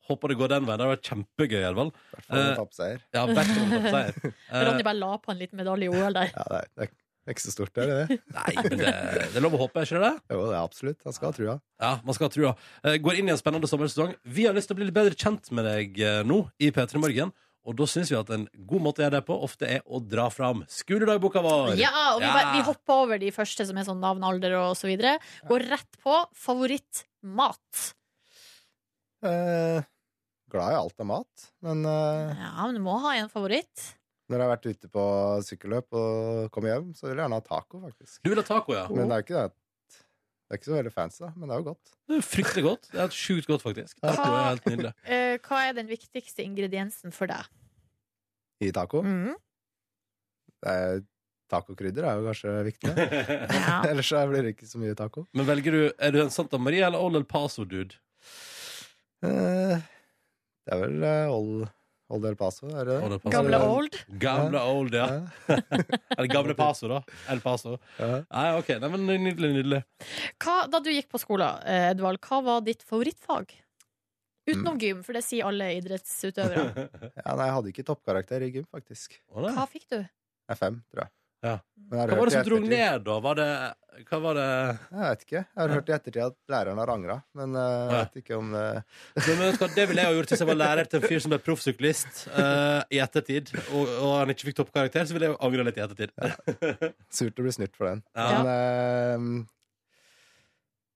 S1: Håper det går den veien. Det har vært kjempegøy, Edvald.
S9: I hvert fall en
S1: Eh,
S9: etappeseier.
S1: Ja, hvert fall en etappeseier. Eh,
S3: Ronny bare la på en liten medalje i OL der.
S9: Ja, det er- det er ikke så stort, er det det?
S1: Nei, men det, Eh, det er lov å håpe, ikke det?
S9: Jo, det er absolutt. Han skal ha trua.
S1: Ja, man skal ha trua. Eh, Går inn i en spennende sommersesong. Vi har lyst til å bli litt bedre kjent med deg eh, nå i P3 Morgen. Og da syns vi at en god måte å gjøre det på ofte er å dra fram skoledagboka vår.
S3: Ja, og vi,
S1: Ja.
S3: bare, vi hopper over de første som er sånn navn, alder og så videre. Går rett på favorittmat.
S9: Eh, glad i alt av mat, men eh,
S3: Ja, men du må ha en favoritt.
S9: Når jeg har vært ute på sykkelløp og kommer hjem, så vil jeg gjerne ha taco, faktisk.
S1: Du vil ha taco, ja?
S9: Men det er ikke det at Det er ikke så veldig fancy, da, men det er jo godt.
S1: Det er fryktelig godt. Det er helt Sjukt godt, faktisk. Taco er helt nydelig.
S3: Eh, hva er den viktigste ingrediensen for deg?
S9: I taco.
S3: Mm.
S9: Det er- Tacokrydder er jo kanskje viktig.
S3: Ja.
S9: Ellers så blir det ikke så mye taco.
S1: Men velger du, er du en Santa Maria eller Old El Paso-dude?
S9: Eh, Det er vel eh, Old, old El Paso, er det
S1: Old
S9: det?
S1: El Paso.
S3: Gamle old?
S1: Gamle Old, ja.
S9: Ja.
S1: Eller Gamle Paso, da. El Paso.
S9: Ja.
S1: Nei, ok, Nei, men Nydelig, nydelig.
S3: Hva, da du gikk på skolen, eh, Edvard, hva var ditt favorittfag? Utenom gym, for det sier alle idrettsutøvere.
S9: ja, nei, jeg hadde ikke toppkarakter i gym, faktisk.
S1: Å, nei.
S3: Hva fikk du?
S9: Jeg er fem, tror jeg.
S1: Ja.
S9: Men jeg har
S1: Hva var
S9: hørt
S1: det
S9: i
S1: som dro
S9: ettertid-
S1: ned, da? Var det, hva var det
S9: Jeg vet ikke. Jeg har hørt i ettertid at læreren har angra, men eh, jeg
S1: Ja.
S9: vet ikke om det
S1: Men vet du hva, Det ville jeg ha gjort hvis jeg var lærer til en fyr som ble proffsyklist eh, i ettertid, og, og han ikke fikk toppkarakter, så ville jeg jo angre litt i ettertid.
S9: Surt å bli snytt for den.
S1: Ja.
S9: Men eh,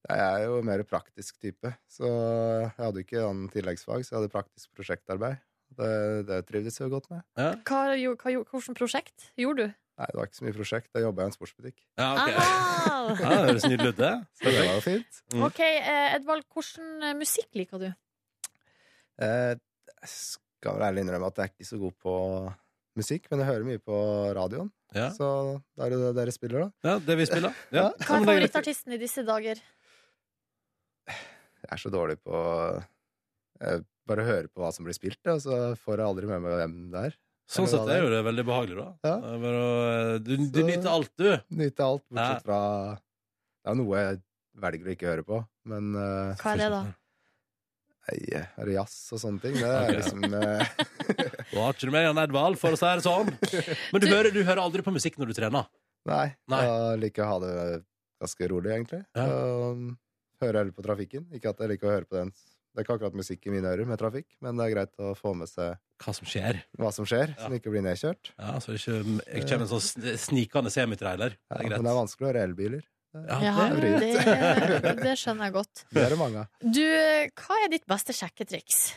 S9: jeg er jo mer praktisk type, så jeg hadde ikke sånn tilleggsfag, så jeg hadde praktisk prosjektarbeid. Det, det trivdes jeg jo godt med.
S3: Hva, gjo- hva, gjo- hvilket prosjekt gjorde du?
S9: Nei, det var ikke så mye prosjekt. Da jobba jeg i en sportsbutikk.
S1: Ja, ok.
S3: Ah!
S1: Ja, det høres nydelig ut, det.
S9: Så det var jo fint.
S1: Mm.
S3: OK, eh, Edvald, hvordan eh, musikk liker du?
S9: Eh, Jeg skal vel ærlig innrømme at jeg er ikke så god på musikk, men jeg hører mye på radioen.
S1: Ja.
S9: Så da er det det dere spiller, da.
S1: Ja, det vi spiller. Ja.
S9: Ja.
S3: Hva
S1: Ja,
S3: er
S1: men det er greit.
S3: favorittartisten i disse dager?
S9: Jeg er så dårlig på Jeg bare hører på hva som blir spilt, og så får jeg aldri med meg hvem det er.
S1: Sånn sett er jo det veldig behagelig, da.
S9: Ja.
S1: Det er bare å- eh, Du, du
S9: Så-
S1: nyter alt, du.
S9: Nyte alt,
S1: Ja.
S9: bortsett fra Det er noe jeg velger å ikke høre på, men eh,
S3: Hva er det, da?
S9: nei, er det jazz og sånne ting? Det er
S1: Ok.
S9: liksom eh,
S1: Du har ikke du med Jan Edvald, for å si det sånn. Men du, hører, du hører aldri på musikk når du trener.
S9: Nei.
S1: Nei.
S9: Jeg liker å ha det ganske rolig, egentlig.
S1: Ja.
S9: Og hører heller på trafikken. Ikke at jeg liker å høre på den Det er ikke akkurat musikk i mine ører med trafikk, men det er greit å få med seg
S1: Hva som skjer.
S9: hva som skjer,
S1: Ja.
S9: så den ikke blir nedkjørt.
S1: Ja, så ikke, jeg kommer en sånn sn- snikende semitrailer. Det
S9: Ja,
S1: er
S9: men det er
S1: greit.
S9: vanskelig å høre elbiler.
S1: Ja,
S3: Ja,
S9: det
S3: det,
S9: er
S3: det skjønner jeg godt.
S9: Det er det mange av.
S3: Du, eh, hva er ditt beste sjekketriks?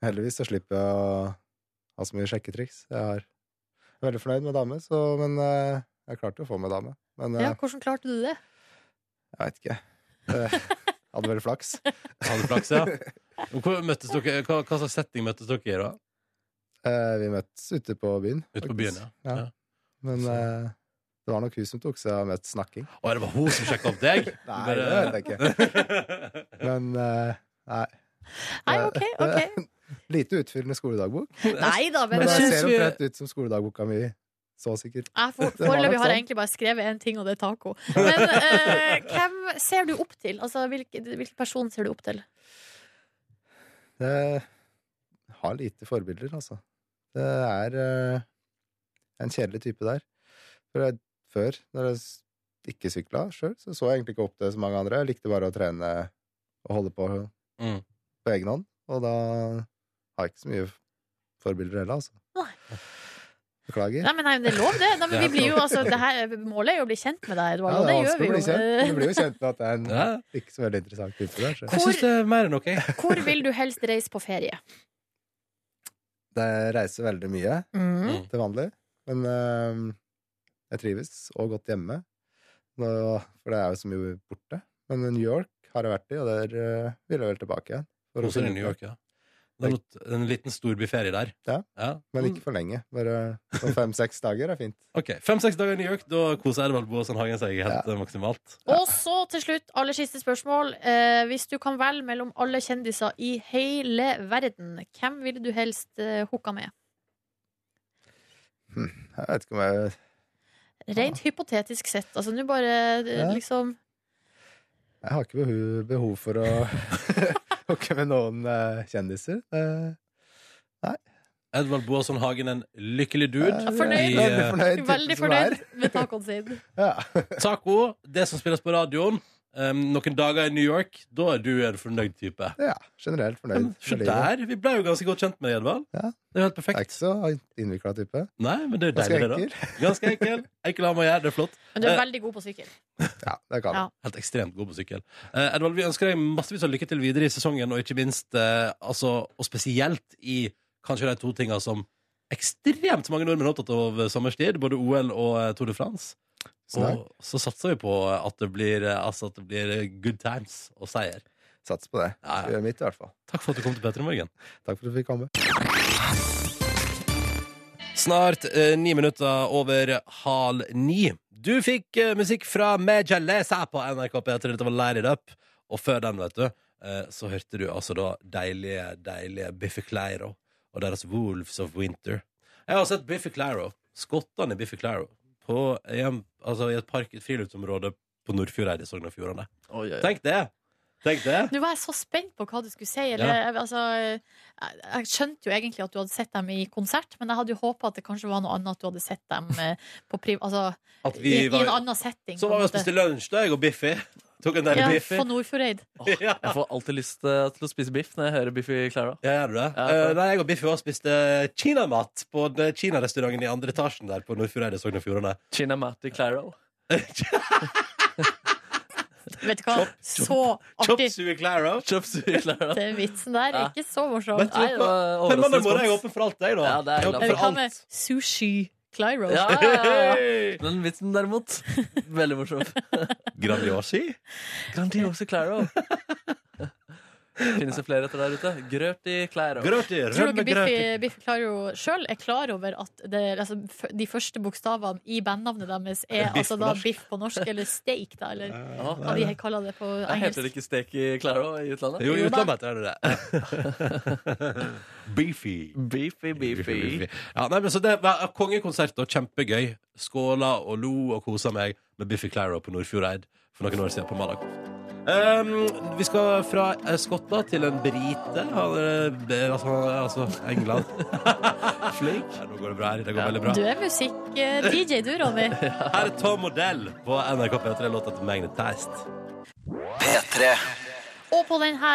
S9: Heldigvis så slipper jeg å ha så mye sjekketriks. Jeg har- jeg er veldig fornøyd med dame, så, men eh, jeg klarte jo å få med dame. Men eh,
S3: Ja, hvordan klarte du det?
S9: jeg veit ikke. Eh, Hadde vel flaks.
S1: hadde flaks, ja. Og Hvor møttes dere, hva, hva slags setting møttes dere i, da?
S9: Eh, Vi møttes ute på byen.
S1: Ute på
S9: faktisk.
S1: byen, ja.
S9: Ja.
S1: Ja.
S9: Men
S1: Så-
S9: eh, det var nok hun som tok seg av mest snakking.
S1: Å, det var hun som sjekka opp deg?
S9: Nei, det vet jeg ikke. Men eh, nei.
S3: Nei, OK. ok
S9: Lite utfyllende skoledagbok.
S3: Nei da, men
S9: Men
S1: jeg
S9: det
S3: eh,
S1: synes
S9: ser
S1: vi-
S9: omtrent ut som skoledagboka mi. Så sikkert.
S3: jeg for,
S9: var nok
S3: Foreløpig har
S9: sånn.
S3: jeg egentlig bare skrevet én ting, og det er taco. Men eh, hvem ser du opp til? Altså, hvilken, hvilken person ser du opp til?
S9: Det har lite forbilder, altså. Det er eh, en kjedelig type der. For jeg, før, når jeg s- ikke sykla sjøl, så så jeg egentlig ikke opp til så mange andre. Jeg likte bare å trene og holde på
S1: Mm.
S9: på egen hånd. Og da har jeg ikke så mye forbilder heller, altså.
S3: Nei.
S9: Beklager.
S3: Nei, men nei, det er lov, det. Nei,
S1: Det
S3: men
S1: er
S3: vi blir jo,
S1: lov.
S3: altså, det her, målet er jo å bli kjent med deg,
S9: Ja,
S3: Edvard, og
S9: det
S3: det
S9: er
S3: gjør
S9: vanskelig å bli kjent. Du
S3: vi
S9: blir
S3: jo.
S9: jo kjent med at det er en
S1: Ja.
S9: ikke så veldig interessant type der. Så.
S1: Jeg syns det er mer enn ok.
S3: Eh, Hvor vil du helst reise på ferie?
S9: Det reiser veldig mye
S3: Mm.
S9: til vanlig, men eh, jeg trives og godt hjemme. Nå, for det er jo så mye borte. Men New York har jeg vært i, og der eh, vil jeg vel tilbake igjen. For å
S1: Rosen i
S9: finne
S1: New
S9: ut
S1: York, ja. Det er not- en liten storbyferie der. Mm.
S9: Ja. Men ikke for lenge. Bare sånn fem-seks dager er fint.
S1: Ok, Fem-seks dager i New York, da koser Edvald Boasson Hagen seg helt eh, maksimalt.
S3: Og så til slutt, aller siste spørsmål. Eh, hvis du kan velge mellom alle kjendiser i hele verden, hvem ville du helst eh, hooka med?
S9: Jeg vet ikke om jeg
S3: Rent hypotetisk sett. Altså nå bare eh,
S9: Ah. Ja.
S3: liksom
S9: Jeg har ikke behov, behov for å hooke med noen eh, kjendiser. Eh,
S1: Edvald Boasson Hagen, en lykkelig dude.
S9: jeg
S3: er fornøyd.
S1: I,
S9: Veldig
S1: eh,
S9: fornøyd.
S3: Veldig fornøyd med tacoen sin.
S9: Ja.
S1: Taco, det som spilles på radioen. eh, noen dager i New York, da er du en fornøyd type.
S9: ja, generelt fornøyd.
S1: Men, Se
S9: med livet.
S1: der! Vi ble jo ganske godt kjent med Edvard.
S9: Ja.
S1: Det er jo helt
S9: Jeg er
S1: perfekt.
S9: ikke så innvikla type.
S1: Nei, men det er jo
S9: Ganske
S1: deilig, det,
S9: enkel.
S1: da. Ganske enkel. Enkel ham å gjøre, det er flott.
S3: Men du er
S1: Eh,
S3: veldig god på sykkel.
S9: Ja, det kan
S3: Ja.
S9: jeg.
S1: Helt ekstremt god på sykkel. Eh, Edvald, vi ønsker deg massevis av lykke til videre i sesongen, og ikke minst, eh, altså, og spesielt i kanskje de to tinga som ekstremt mange nordmenn er opptatt av eh, sommerstid, både OL og eh, Tour de France.
S9: Så da
S1: Og så satser vi på eh, at det blir, eh, altså, at det blir eh, good times og seier.
S9: sats på det.
S1: Ja, ja.
S9: Skal gjøre mitt, i hvert fall.
S1: Takk for at du kom til Petter i morgen.
S9: Takk for at du fikk komme.
S1: Snart eh, ni minutter over halv ni. Du fikk eh, musikk fra Majalesa på NRK P3. Dette var Light It Up. Og før den, vet du, eh, så hørte du altså da deilige, deilige Biffy Clyro og deres Wolves of Winter. Jeg har sett Biffy Clyro, skottene Biffy Clyro, på, i, en, altså, i et park, et friluftsområde på Nordfjordeid i Sogn og Fjordane.
S2: Oi, oi, oi.
S1: Tenk det! Tenk det.
S3: Nå var jeg så spent på hva du skulle si. Eller, jeg, altså, jeg, jeg skjønte jo egentlig at du hadde sett dem i konsert, men jeg hadde jo håpa at det kanskje var noe annet at du hadde sett dem eh, på priv... Altså,
S1: At
S3: i,
S1: vi
S3: i en
S1: var,
S3: annen setting.
S1: så
S3: på en
S1: var vi og
S3: måte.
S1: spiste lunsj, da, jeg og Biffy. Tok en deilig
S3: ja,
S1: Biffy.
S3: på Nordfjordeid.
S1: Ja.
S2: Jeg får alltid lyst eh, til å spise biff når jeg hører Biffy Clara.
S1: Ja, gjør du det?
S2: Ja,
S1: Eh,
S2: for-
S1: nei, jeg og Biffy var og spiste kinamat på den eh, kinarestauranten i andre etasjen der på Nordfjordeid i Sogn og Fjordane.
S2: Chinamati Claro.
S3: Vet du hva? Så
S1: Chop
S3: artig!
S1: suey claro.
S2: Chop suey Clara.
S3: Den vitsen der er
S2: Ja.
S3: ikke så morsom.
S1: Vet du
S2: Nei, det
S1: hva?
S2: var
S1: På en mandag morgen er jeg
S2: overraskende respons.
S1: åpen for alt, jeg, da.
S2: Ja, det er
S1: jeg
S2: helt
S1: åpen
S3: Eller
S1: for
S3: hva
S1: alt.
S3: med sushi Clyro?
S2: Ja, ja, ja, ja. Den vitsen derimot, veldig morsom.
S1: Grandiosi?
S2: Grandiose Claro. Finnes det flere etter der ute? Grøt i Claro.
S1: Grøt i
S3: Tror dere
S1: rømme grøt
S3: Biffy,
S1: i
S3: Biffy Clyro sjøl er klar over at det, altså, f- de første bokstavene i bandnavnet deres er
S1: Biff
S3: altså,
S1: på
S3: da
S1: norsk.
S3: biff på norsk, eller steak, da, eller
S2: Ja,
S3: hva de kaller det på
S2: Jeg heter
S3: engelsk.
S2: det ikke stek i Claro i utlandet?
S1: Jo, i
S3: Jo da.
S1: utlandet heter det det. Beefy.
S2: Beefy, beefy.
S1: Ja, nei, men så det var kongekonsert og kjempegøy. Skåla og lo og kosa meg med Biffy Claro på Nordfjordeid for noen år siden på mandag. Um, vi skal fra eh, Skottland til en brite. Han, eh, be- altså, altså England. Flink. Ja, nå går det bra her. Det går
S2: Ja.
S1: veldig bra.
S3: Du er musikk-DJ, du, Ronny.
S1: Her er Tom Modell på NRK P3, låta til Magnetized.
S3: Og på denne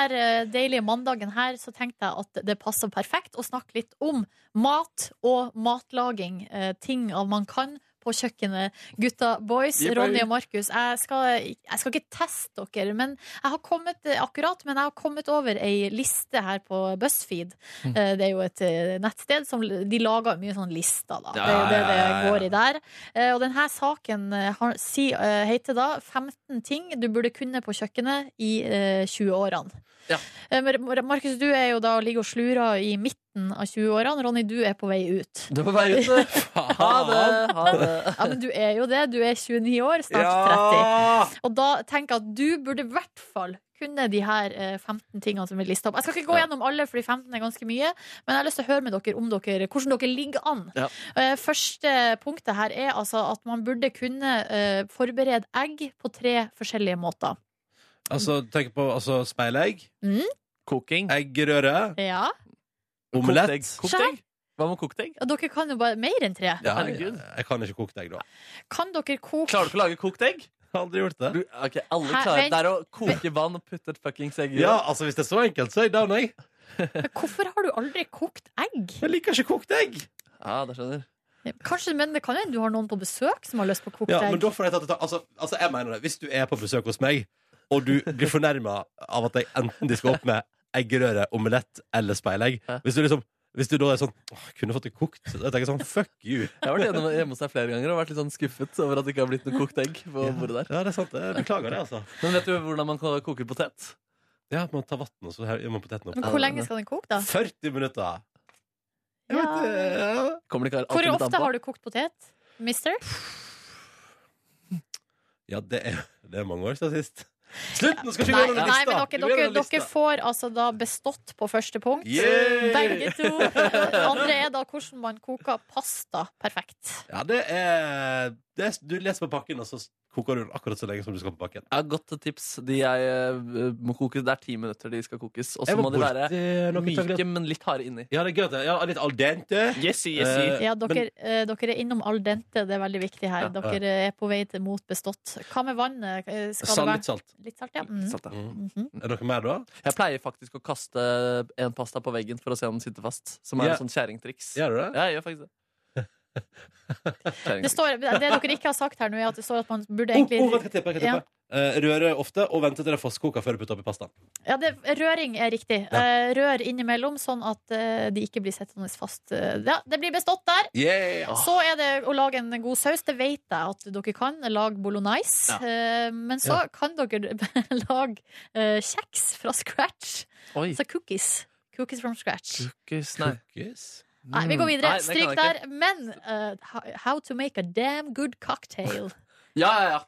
S3: deilige mandagen her så tenkte jeg at det passer perfekt å snakke litt om mat og matlaging. Eh, ting av man kan på kjøkkenet. Gutta boys,
S1: Jippi.
S3: Ronny og Markus, jeg skal, jeg skal ikke teste dere men jeg har kommet, eh, akkurat, men jeg har kommet over ei liste her på BuzzFeed.
S1: Mm.
S3: Eh, det er jo et eh, nettsted som de lager mye sånne lister, da. det er jo det
S1: ja, ja,
S3: det
S1: ja.
S3: går i der. Eh, Og denne saken eh, har, si, eh, heter da 15 ting du burde kunne på kjøkkenet i eh, 20-årene.
S2: Ja.
S3: Eh, Mar- Mar- Markus, du er jo da og ligger og slurer i midten av 20-årene. Ronny, du er på vei ut.
S2: Du er på vei ut, du. Ha det. Ha det.
S3: Ja, men du er jo det. Du er 29 år, snart 30. Og da tenker jeg at du burde i hvert fall kunne de her eh, 15 tingene som er lista opp. Jeg skal ikke gå
S2: Ja.
S3: gjennom alle, for de 15 er ganske mye, men jeg har lyst til å høre med dere om dere, hvordan dere ligger an.
S2: Ja.
S3: Eh, Første punktet her er altså at man burde kunne eh, forberede egg på tre forskjellige måter.
S1: Altså, tenk på altså, speilegg,
S2: Koking.
S1: eggerøre,
S3: Ja,
S2: Kokt
S1: omelett.
S2: egg. Kokt egg? Hva med kokt egg?
S3: og Dere kan jo bare mer enn tre.
S1: Ja, jeg,
S2: Herregud.
S1: jeg kan ikke kokt egg, da.
S3: Kan dere koke
S2: Klarer du ikke å lage kokt egg?
S1: Aldri gjort det.
S2: Du, ok, alle
S3: Hæ,
S2: klarer
S3: vent.
S2: Det er å koke vann og putte et fuckings egg i.
S1: Ja, altså Hvis det er så enkelt, så er jeg down, jeg.
S3: Men Hvorfor har du aldri kokt egg?
S1: Jeg liker ikke kokt egg.
S2: Ja, det skjønner
S3: Kanskje, men Det kan jo hende du har noen på besøk som har lyst på kokt
S1: Ja, men
S3: egg.
S1: da får jeg tatt et tak. Altså, altså, jeg mener det. Hvis du er på besøk hos meg, og du blir fornærma av at jeg enten disker opp med eggerøre, omelett eller speilegg
S2: Ja.
S1: Hvis du liksom Hvis du da er sånn Åh, kunne fått det kokt. Da tenker jeg sånn Fuck you.
S2: Jeg har vært gjennom- hjemme hos deg flere ganger og vært litt sånn skuffet over at det ikke har blitt noe kokt egg på bordet der.
S1: Ja, det er sant. Jeg beklager det, altså.
S2: Men vet du hvordan man kan koke potet?
S1: Ja, Man tar vann, og så gjør man poteten opp.
S3: Men Hvor lenge skal den koke, da?
S1: 40 minutter. Jeg
S3: Ja.
S1: vet det. Ja.
S2: Kommer det ikke
S3: Hvor ofte har du kokt potet, mister?
S1: Ja, det er, det er mange år siden sist. Slutt! Nå skal vi ikke
S3: Nei,
S1: gå gjennom
S3: nei, men
S1: lista!
S3: dere,
S1: Vi går
S3: dere,
S1: gjennom lista.
S3: dere får altså da bestått på første punkt.
S1: Yay!
S3: Begge to. Det andre er da hvordan man koker pasta perfekt.
S1: Ja, det er, det er Du leser på pakken, og så koker du den akkurat så lenge som du skal på pakken.
S2: Jeg har godt tips. De jeg eh, må koke, Det er ti minutter de skal kokes. Og så
S1: Jeg var
S2: må de være
S1: borti noen
S2: myke,
S1: takler.
S2: men litt harde inni.
S1: Ja, det er gøy. at det- Ja, litt al dente.
S2: Yes,
S1: Eh,
S3: Ja, dere,
S1: men-
S3: eh, dere er innom al dente, det er veldig viktig her. Dere er på vei til mot bestått. Hva med vannet? Eh, Skal
S1: Salt,
S3: det
S1: litt
S3: være
S1: salt.
S3: litt salt? Ja. Mm.
S2: Salt, ja.
S3: Mhm.
S1: Er det noe mer, da?
S2: Jeg pleier faktisk å kaste en pasta på veggen for å se om den sitter fast. Som er
S1: Ja.
S2: et sånt kjerringtriks. Ja.
S1: Gjør du det?
S2: jeg gjør faktisk det.
S3: Det,
S2: Kjerringtriks.
S3: står, det dere ikke har sagt her nå, er at det står at man burde
S1: Oh,
S3: egentlig
S1: oh, vent, jeg tipper, jeg tipper. Eh, Røre ofte og vente til det er fosskoka før du putter oppi pastaen.
S3: Ja, det, røring er riktig. Eh, Rør innimellom, sånn at eh, de ikke blir sittende fast. Eh, Ja, det blir bestått der.
S1: Yeah!
S2: Ah.
S3: Så er det å lage en god saus. Det vet jeg at dere kan. Lag bolognese. Eh, Men så kan dere lage eh, kjeks fra scratch.
S2: Oi.
S3: Altså cookies. Cookies from scratch.
S2: Cookies, nei.
S1: Ah, Cookies.
S3: Nei, vi går videre.
S2: Nei, det kan
S3: Stryk
S2: jeg
S3: der.
S2: ikke.
S3: Men eh, ho- how to make a damn good cocktail.
S2: Ja, ja,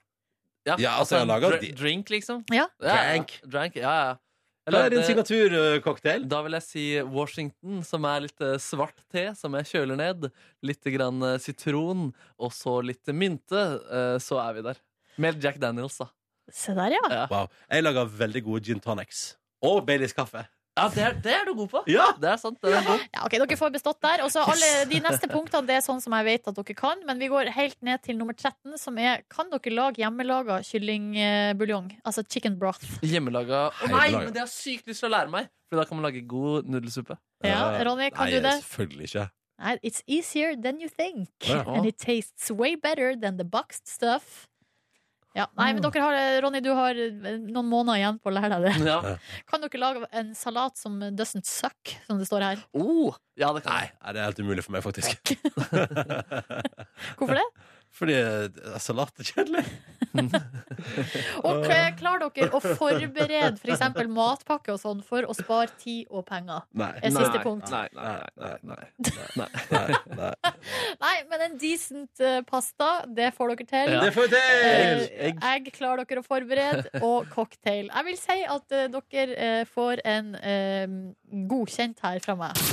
S2: ja.
S1: Ja, altså, jeg lager
S2: dr-
S1: de-
S2: Drink, liksom.
S3: Ja.
S2: Drank. Drank, ja, ja. Jeg
S1: Hva er din
S2: lagde-
S1: signaturcocktail?
S2: Da vil jeg si Washington, som er litt eh, svart te som jeg kjøler ned. Litt grann eh, sitron, og så litt mynte. eh, Så er vi der. Med Jack Daniels, da.
S3: Se der, ja.
S1: Wow. Jeg lager veldig gode gin tonics. Og Baileys kaffe.
S2: Ja, det er, det er du god på.
S1: Ja!
S2: Det er sant. Det er god.
S3: ja ok, Dere får bestått der. Og så alle de neste punktene det er sånn som jeg vet at dere kan. Men vi går helt ned til nummer 13, som er Kan dere lage hjemmelaga kyllingbuljong? Altså chicken broth.
S2: Hjemmelaga. Å
S1: Hei,
S2: nei,
S1: hjemmelaga.
S2: men det har jeg sykt lyst til å lære meg! For da kan man lage god nudelsuppe.
S3: Ja,
S1: Eh,
S3: Ronny, kan
S1: Nei,
S3: du det?
S1: selvfølgelig ikke.
S3: Nei, It's easier than you think.
S1: Ja.
S3: And it tastes way better than the boxed stuff. Ja, nei,
S1: Mm.
S3: men dere har, eh, Ronny, du har noen måneder igjen på å lære deg det.
S2: Ja.
S3: Kan dere lage en salat som doesn't suck, som det står her?
S2: Oh, ja, det kan
S1: Nei,
S2: jeg.
S1: nei, det er helt umulig for meg, faktisk.
S3: Hvorfor det?
S1: Fordi eh, salat er kjedelig.
S3: Og k- klarer dere å forberede f.eks. For matpakke og sånn for å spare tid og penger?
S1: Nei.
S3: Eh, siste punkt.
S2: Nei, nei, nei, nei, nei, nei.
S1: nei.
S3: Nei, men en decent eh, pasta, det får dere til.
S2: Ja.
S1: Det får vi til!
S3: Eh, Egg klarer dere å forberede, og cocktail. Jeg vil si at eh, dere eh, får en eh, godkjent her fra meg.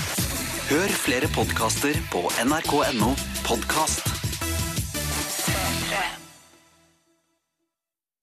S11: Hør flere podkaster på nrk.no podkast.